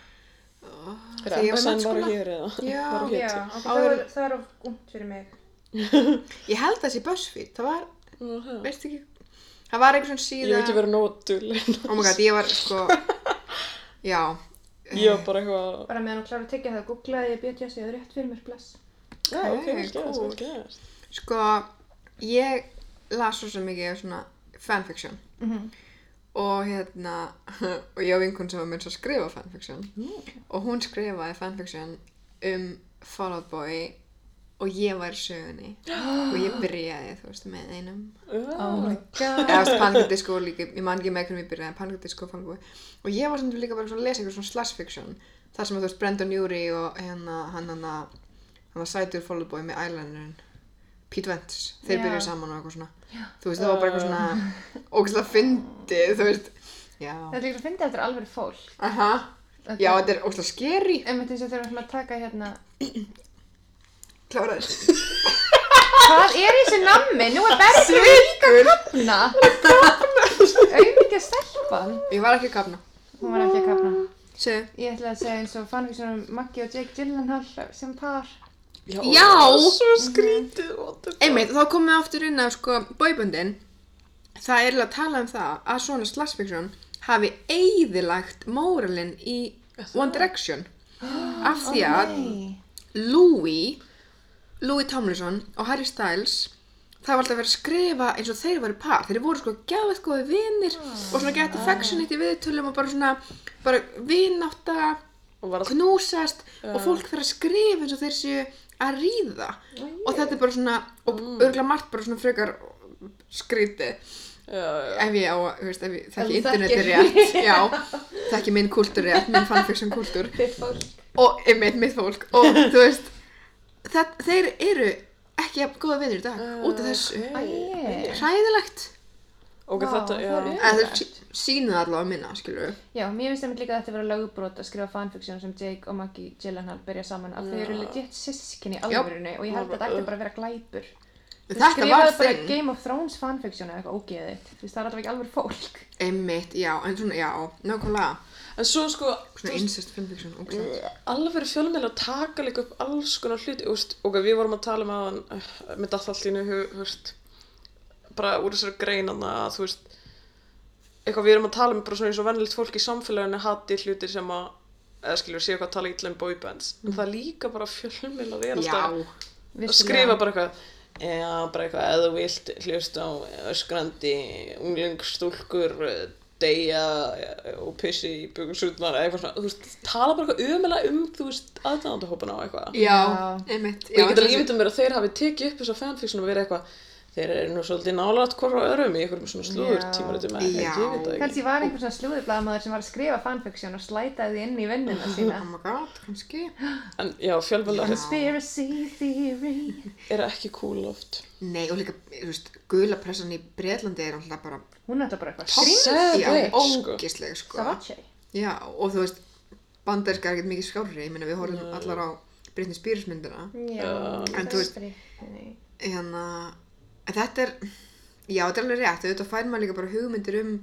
Speaker 2: Þegar ég var í
Speaker 3: MSN var
Speaker 2: mennskóla.
Speaker 3: hér eða,
Speaker 2: Já.
Speaker 1: Já,
Speaker 3: var hér til.
Speaker 1: ok,
Speaker 2: Áður-
Speaker 1: það var- það er of ungt fyrir mig.
Speaker 2: Ég held þessi BuzzFeed, það var,
Speaker 3: Aha.
Speaker 2: veist ekki, það var einhver svona
Speaker 3: Ég
Speaker 2: síða,
Speaker 3: hef ekki verið nóg dulinn.
Speaker 2: oh my god, ég var
Speaker 3: [laughs]
Speaker 2: sko, já,
Speaker 3: Ég var bara eitthvað,
Speaker 1: Bara meðan hún klára að tekja það, googlaði ég BTS eða rétt fyrir mér, bless.
Speaker 3: já, "Ah, ok, vel gert,
Speaker 2: cool.
Speaker 3: vel gert.
Speaker 2: sko, ég las svo sem mikið af svona fanfiction
Speaker 1: Mhm.
Speaker 2: og hérna, [laughs] og ég á vinkun sem var meins að skrifa fanfiction
Speaker 3: Mm.
Speaker 2: og hún skrifaði fanfiction um Fall Out Boy og ég var í sögunni og ég byrjaði, þú veist, með einum
Speaker 3: Ah.
Speaker 1: Oh god.
Speaker 2: eða þú veist, Pancradisco líka, ég man ekki með hvernig ég byrjaði, Pancradisco og Falboy og ég var sem líka bara svona að lesa eitthvað svona slash fiction þar sem að þú veist, Brendan Urie og hérna, hann hann að hann var sætur Falboy með Islanderin Pete Wentz, þeir
Speaker 1: Já.
Speaker 2: byrjuðu saman og eitthvað svona þú veist, það var bara eitthvað svona ógæslega fyndið, þú veist já,
Speaker 1: Þetta er líka að finna eftir alveg fólk.
Speaker 2: aha, já, þetta er ógæslega skeri
Speaker 1: Einmitt eins og þegar við ætlum að taka hérna
Speaker 2: klára þessu,
Speaker 1: Hvað er í þessu nammi? Nú er Bergur líka að kapna Auðvitað stelpan
Speaker 2: ég var ekki að kafna
Speaker 1: Hún var ekki að kapna
Speaker 2: Segðu.
Speaker 1: Ég ætla að segja eins og fanfiction um Maggie og Jake Gyllenhaal sem par
Speaker 2: Já.
Speaker 3: það var Svo skrítið, what the fuck.
Speaker 2: Einmitt, þá komum við aftur inn á sko bóiböndin Það er eiginlega að tala um það að svona slash fiction hafi eigðilagt móralinn í One [gasps] Direction af því að
Speaker 1: Nei.
Speaker 2: Louis Louis Tomlinson og Harry Styles það var alltaf verið að skrifa eins og þeir voru par þeir voru sko gæðið góði vinir og svona gett affectionate í viðtölum og bara svona bara vinátta
Speaker 3: Og var alltaf,
Speaker 2: knúsast og fólk fyrir að skrifa eins og þeir séu að ríða og þetta er bara svona, og
Speaker 1: Mm.
Speaker 2: örgulega margt bara svona frekar skríti
Speaker 3: já, já,
Speaker 2: ef ég á, að, þú veist, ef ég þekki
Speaker 1: Ef þú
Speaker 2: interneti
Speaker 1: þekkir. [laughs]
Speaker 2: rétt já, þekki minn kúltúr rétt minn fanfiction kúltúr
Speaker 1: Þitt fólk
Speaker 2: og einmitt mitt fólk og þú veist, það, þeir eru ekki að góða vinir í dag
Speaker 1: Ah,
Speaker 2: út af þessu,
Speaker 1: Æ,
Speaker 2: hræðilegt
Speaker 3: ok,
Speaker 1: Vá,
Speaker 3: þetta,
Speaker 1: það
Speaker 3: já.
Speaker 1: er
Speaker 2: eða þeir sí- sýna það allavega minna, skilur við
Speaker 1: Já, mér finnst það líka að þetta vera lögbrot að skrifa fanfiction sem Jake og Maggie Gyllenhaal byrja saman af því þau eru legit sískinni í alvörunni og ég held að þetta ætti bara að vera glæpur
Speaker 2: þetta var
Speaker 1: Skrifaðu bara
Speaker 2: þinn,
Speaker 1: Game of Thrones fanfiction eða eitthvað ógeðið Þú veist, það er alltaf ekki alveg fólk
Speaker 2: einmitt, já, en svona, já, nákvæmlega
Speaker 3: En svo sko,
Speaker 2: svona incest fanfiction, ógstætt
Speaker 3: alveg fjölmiðla taka líka upp alls konar hluti úst, og við vorum að tala með hann með dallallínu húst, bara úr þessari greinana að þú veist eitthvað við erum að tala um bara svona eins og vennilegt fólk í samfélaginu hati hlutir sem að eða skiljur sé eitthvað að tala illa um boybands en það er líka bara fjölmiðla þeir alltaf
Speaker 2: Já,
Speaker 3: að skrifa bara eitthvað Já, bara eitthvað, eða þú vilt hlusta á öskrandi unglingstúlkur eh, deyja eh, og pissi í bugusutnar eða eitthvað svona, þú veist, tala bara eitthvað umjöðlega um, þú veist, aðdáðandahópana og eitthvað
Speaker 2: já, einmitt
Speaker 3: og ég get alveg ímyndað mér að þeir hafi tekið upp þessa fanfiction og verið eitthvað þeir eru nú svolítið nálaðt hvora örum í einhverjum svona slúður
Speaker 1: Já.
Speaker 3: tímaritum eða
Speaker 2: Já.
Speaker 3: eitthvað, ég veit það ekki
Speaker 1: Kanski var einhver svona slúðublaðamaður sem var að skrifa fanfiction og slætaði því inn í vinnuna sína.
Speaker 3: [laughs]
Speaker 2: Oh my god, kannski
Speaker 3: en já, fjölvelar
Speaker 1: Conspiracy theory.
Speaker 3: er ekki cool oft
Speaker 2: Nei, og líka, þú veist, gula pressan í Breitlandi er alltaf bara
Speaker 1: Hún er þetta bara eitthvað
Speaker 3: Tom-
Speaker 1: skrýmst.
Speaker 3: Sæt,
Speaker 2: Já,
Speaker 3: veik, sko.
Speaker 2: ógisleg, sko
Speaker 1: Savache.
Speaker 2: Já, og þú veist, banderska er ekkert mikið skárri Ég meina, við horfum allar á Britney Spears myndina
Speaker 1: Já,
Speaker 2: En þú veist- Hérna, en þetta er Já, þetta er alveg rétt, auðvitað fær maður líka bara hugmyndir um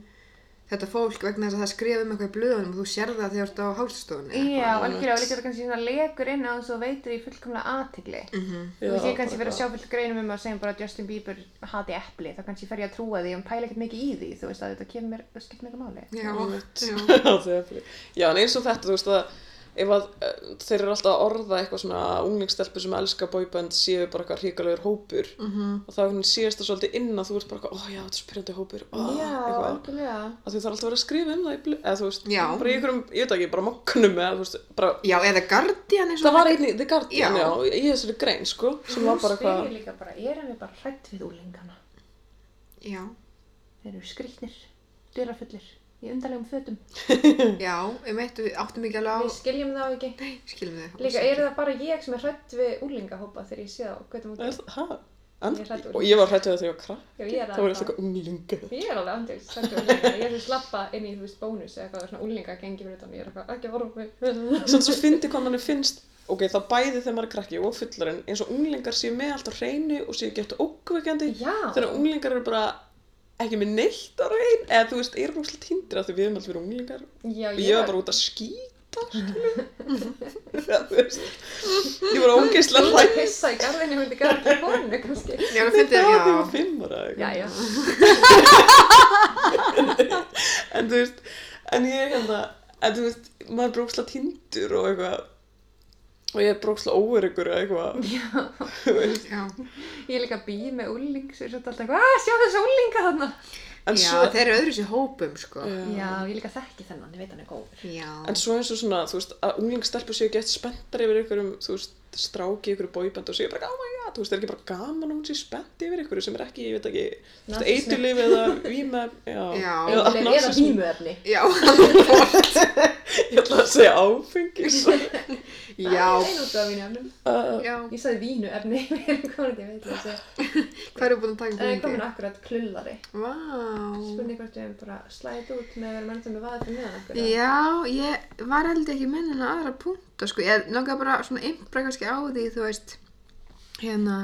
Speaker 2: þetta fólk vegna þess að það skrifa um eitthvað í blöðunum og þú sér það þegar þú ert á hástastofunni
Speaker 1: Já, algjörlega, og líka þetta kannski svona legur inn á þess og veitur í fullkomlega aðtegli.
Speaker 3: Mhm.
Speaker 1: Þú veist, ég kannski verið að sjá fullt greinum um að segja bara að Justin Bieber hati epli, þá kannski fer ég að trúa því, en pæla ekkert mikið í því, þú veist, að þetta kemur, það skipt mjög máli.
Speaker 2: Já, já,
Speaker 3: Já, þau jafnvel. Já, en eins og þetta, þú veist að ef að eh, þeir eru alltaf að orða eitthvað svona unglingstelpur sem elska boyband séu bara eitthvað hríkalegur hópur -hmm.
Speaker 2: Mhm.
Speaker 3: og það hvernig séast það svolítið inn að þú ert bara eitthvað, ó já, þetta er svo pyrrandi hópur ó, eitthvað,
Speaker 1: algjörlega.
Speaker 3: að þú þarf alltaf að vera að skrifa um það í blu, eða þú veist,
Speaker 2: Já.
Speaker 3: bara í einhverjum, ég veit ekki, bara mokkunum eða þú veist, bara,
Speaker 2: já eða Guardian eins og
Speaker 3: það var einn í The Guardian,
Speaker 2: Já.
Speaker 3: já, í þessari grein, sko sem
Speaker 1: Hún
Speaker 3: var bara
Speaker 1: spyrir
Speaker 3: eitthvað,
Speaker 1: líka bara, erum við bara hrætt við úlingana?
Speaker 2: Já,
Speaker 1: Þeir eru skrýtnir, dyrafullir, í undarlegum fötum.
Speaker 2: já, ég meitt, við áttum ekki alveg á
Speaker 1: Við skiljum þá ekki.
Speaker 2: Skilum við það.
Speaker 1: Líka, eru það bara ég sem er hrætt við úlingahópa þegar ég sé það og gautum út?
Speaker 3: er það, hæ? En,
Speaker 1: Ég er hrædd við
Speaker 3: og ég var hrættu þegar ég var krakk
Speaker 1: Já, ég er
Speaker 3: þá var ég
Speaker 1: það.
Speaker 3: alltaf eitthvað unglinga
Speaker 1: Ég er alveg andjöks, hrætt við úlinga. Ég er sem slappa inn í, þú veist, bónus eða eitthvað, svona úlinga gengi fyrir utan. Ég er eitthvað, ekki að horfa á mig.
Speaker 3: Svona svo fyndi hvað manni finnst Ok, það bæði þegar maður er krakki og fullarinn eins og unglingar séu með allt á hreinu og séu gett ókvekjandi
Speaker 1: Já.
Speaker 3: þegar unglingar eru bara ekki með neitt á hrein eða þú veist, ég er bara svolítið tindir að því við erum alltaf verið unglingar
Speaker 1: Já,
Speaker 3: og ég var bara út að skýta putta [laughs] skilur. Já, þú veist. ég var ógeðslega
Speaker 1: Þú
Speaker 3: hlæg
Speaker 1: pissa í garðinu og myndi garða ekki bónu kannski.
Speaker 2: Já, við finnum
Speaker 3: þetta
Speaker 1: [laughs]
Speaker 3: var því var
Speaker 2: já.
Speaker 3: fimm ára eða
Speaker 1: Já, já.
Speaker 3: eitthvað. en þú veist en ég er hérna en þú veist, maður er bróksla tindur og eitthvað og ég er bróksla óöryggur eða eitthvað Þú veist.
Speaker 2: Já,
Speaker 1: Ég er líka býð með úling sem er svolítið alltaf eitthvað, að sjá þessu úlinga þarna.
Speaker 3: en
Speaker 2: já
Speaker 3: svo
Speaker 2: þeir eru öðru sér hópum, sko.
Speaker 1: Já, ég líka þekki þennan, ég veit hann er góður.
Speaker 2: Já.
Speaker 3: En svo eins og svona, þú veist, að unglingstelpur séu gett spenntar yfir einhverjum, þú veist, stráki ykkur bóiband og séu bara, oh my god, þú veist, er ekki bara gaman að hún sé spennt yfir einhverju sem er ekki, ég veit ekki, þú veist,
Speaker 1: Nasismi.
Speaker 3: eitulif eða víma, já.
Speaker 2: Já.
Speaker 1: Eða
Speaker 3: nasismi.
Speaker 1: hímuefni.
Speaker 2: Já,
Speaker 3: [laughs] Ég ætla að segja áfengis.
Speaker 1: [laughs]
Speaker 2: já,
Speaker 1: Einu út af vínuefnum.
Speaker 3: Uh,
Speaker 2: já.
Speaker 1: Ég sagði vínuefni, [laughs] ég veit ekki, ég veit ekki að segja.
Speaker 2: Hvað eru búin að taka
Speaker 1: Það er Eh, komin
Speaker 2: fyrir?
Speaker 1: akkurat klullari.
Speaker 2: Vá.
Speaker 1: Spurning hvort við höfum bara slæðið út með að vera menn sem er vaðið fyrir meðan okkur.
Speaker 2: Já, ég var heldur ekki með en aðra punta sko, ég langaði bara svona impra kannski á því, þú veist, hérna,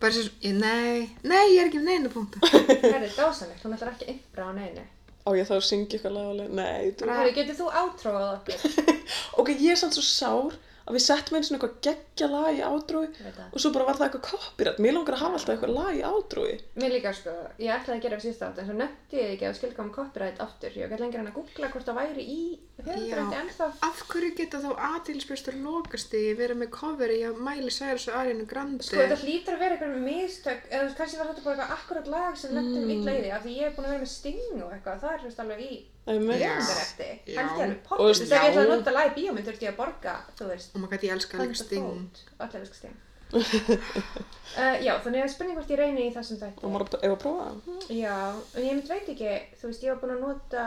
Speaker 2: bara sér, ég, nei, nei, ég er ekki með neina punta.
Speaker 1: Það er dásanlegt, hún ætlar ekki ymbra á neinu.
Speaker 3: á ég þá að syngja eitthvað lagalega? Nei, þú
Speaker 1: Herri, getur þú átróað okkur?
Speaker 3: Ok, ég er samt svo sár að við settum einu svona eitthvað geggja lag í ádrói
Speaker 1: Ég veit það.
Speaker 3: og svo bara var það eitthvað copyright. Mér langar að hafa alltaf eitthvað lag í ádrói.
Speaker 1: Mér líka sko, ég ætlaði að gera það síðust átt, en svo nefndi ég ekki að skilja um copyright aftur. Ég gæti lengur en að googla hvort það væri í höfundrætti
Speaker 2: Já.
Speaker 1: ennþá.
Speaker 2: Af hverju geta þá aðtilspjörstur lokasti verið með coveri hjá Miley Cyrus og Ariana Grande?
Speaker 1: Sko þetta hlýtur að vera eitthvað mistök, eða þú veist, kannski var þetta bara eitthvað akkurat lag sem lendum mm. illa í því, af því ég er búin að vera með sting og eitthvað, það er þú veist alveg í
Speaker 3: Nei, með-
Speaker 2: Já.
Speaker 1: höfundrætti.
Speaker 2: Já.
Speaker 1: Held ég alveg
Speaker 3: Og
Speaker 1: poppið,
Speaker 3: veist,
Speaker 1: þú veist, ef ég ætlaði
Speaker 3: já.
Speaker 1: að nota lag í bíómynd þurfti ég að borga, þú veist,
Speaker 2: Oh my god, ég elska líka Sting.
Speaker 1: Allir elskar
Speaker 3: [laughs]
Speaker 1: sting. uh, já, þannig að spurning hvort ég reyni í þessum
Speaker 3: Og
Speaker 1: þætti.
Speaker 3: maður að- ef að prófa það.
Speaker 1: Já, en ég mynd veit ekki, þú veist, ég var búin að nota,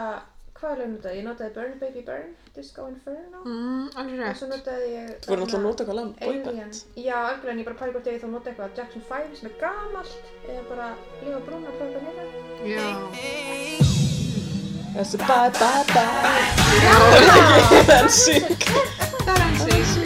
Speaker 1: hvað lög notaði? Ég notaði Burn Baby Burn, Disco Inferno
Speaker 2: Mm, alveg
Speaker 1: og svo
Speaker 2: rétt.
Speaker 1: notaði ég...
Speaker 3: Þú voru
Speaker 1: þarna
Speaker 3: náttúrulega að nota eitthvað lag um
Speaker 1: Alien.
Speaker 3: boyband.
Speaker 1: Já, algjörlega, en ég bara pæli hvort ef ég þá nota eitthvað Jackson 5 sem er gamalt eða bara Lífa Brún að prófa eitthvað nýra.
Speaker 2: Já.
Speaker 3: Þessi bye bye bye
Speaker 2: Já.
Speaker 3: Dancing [laughs]
Speaker 2: Það er hans í.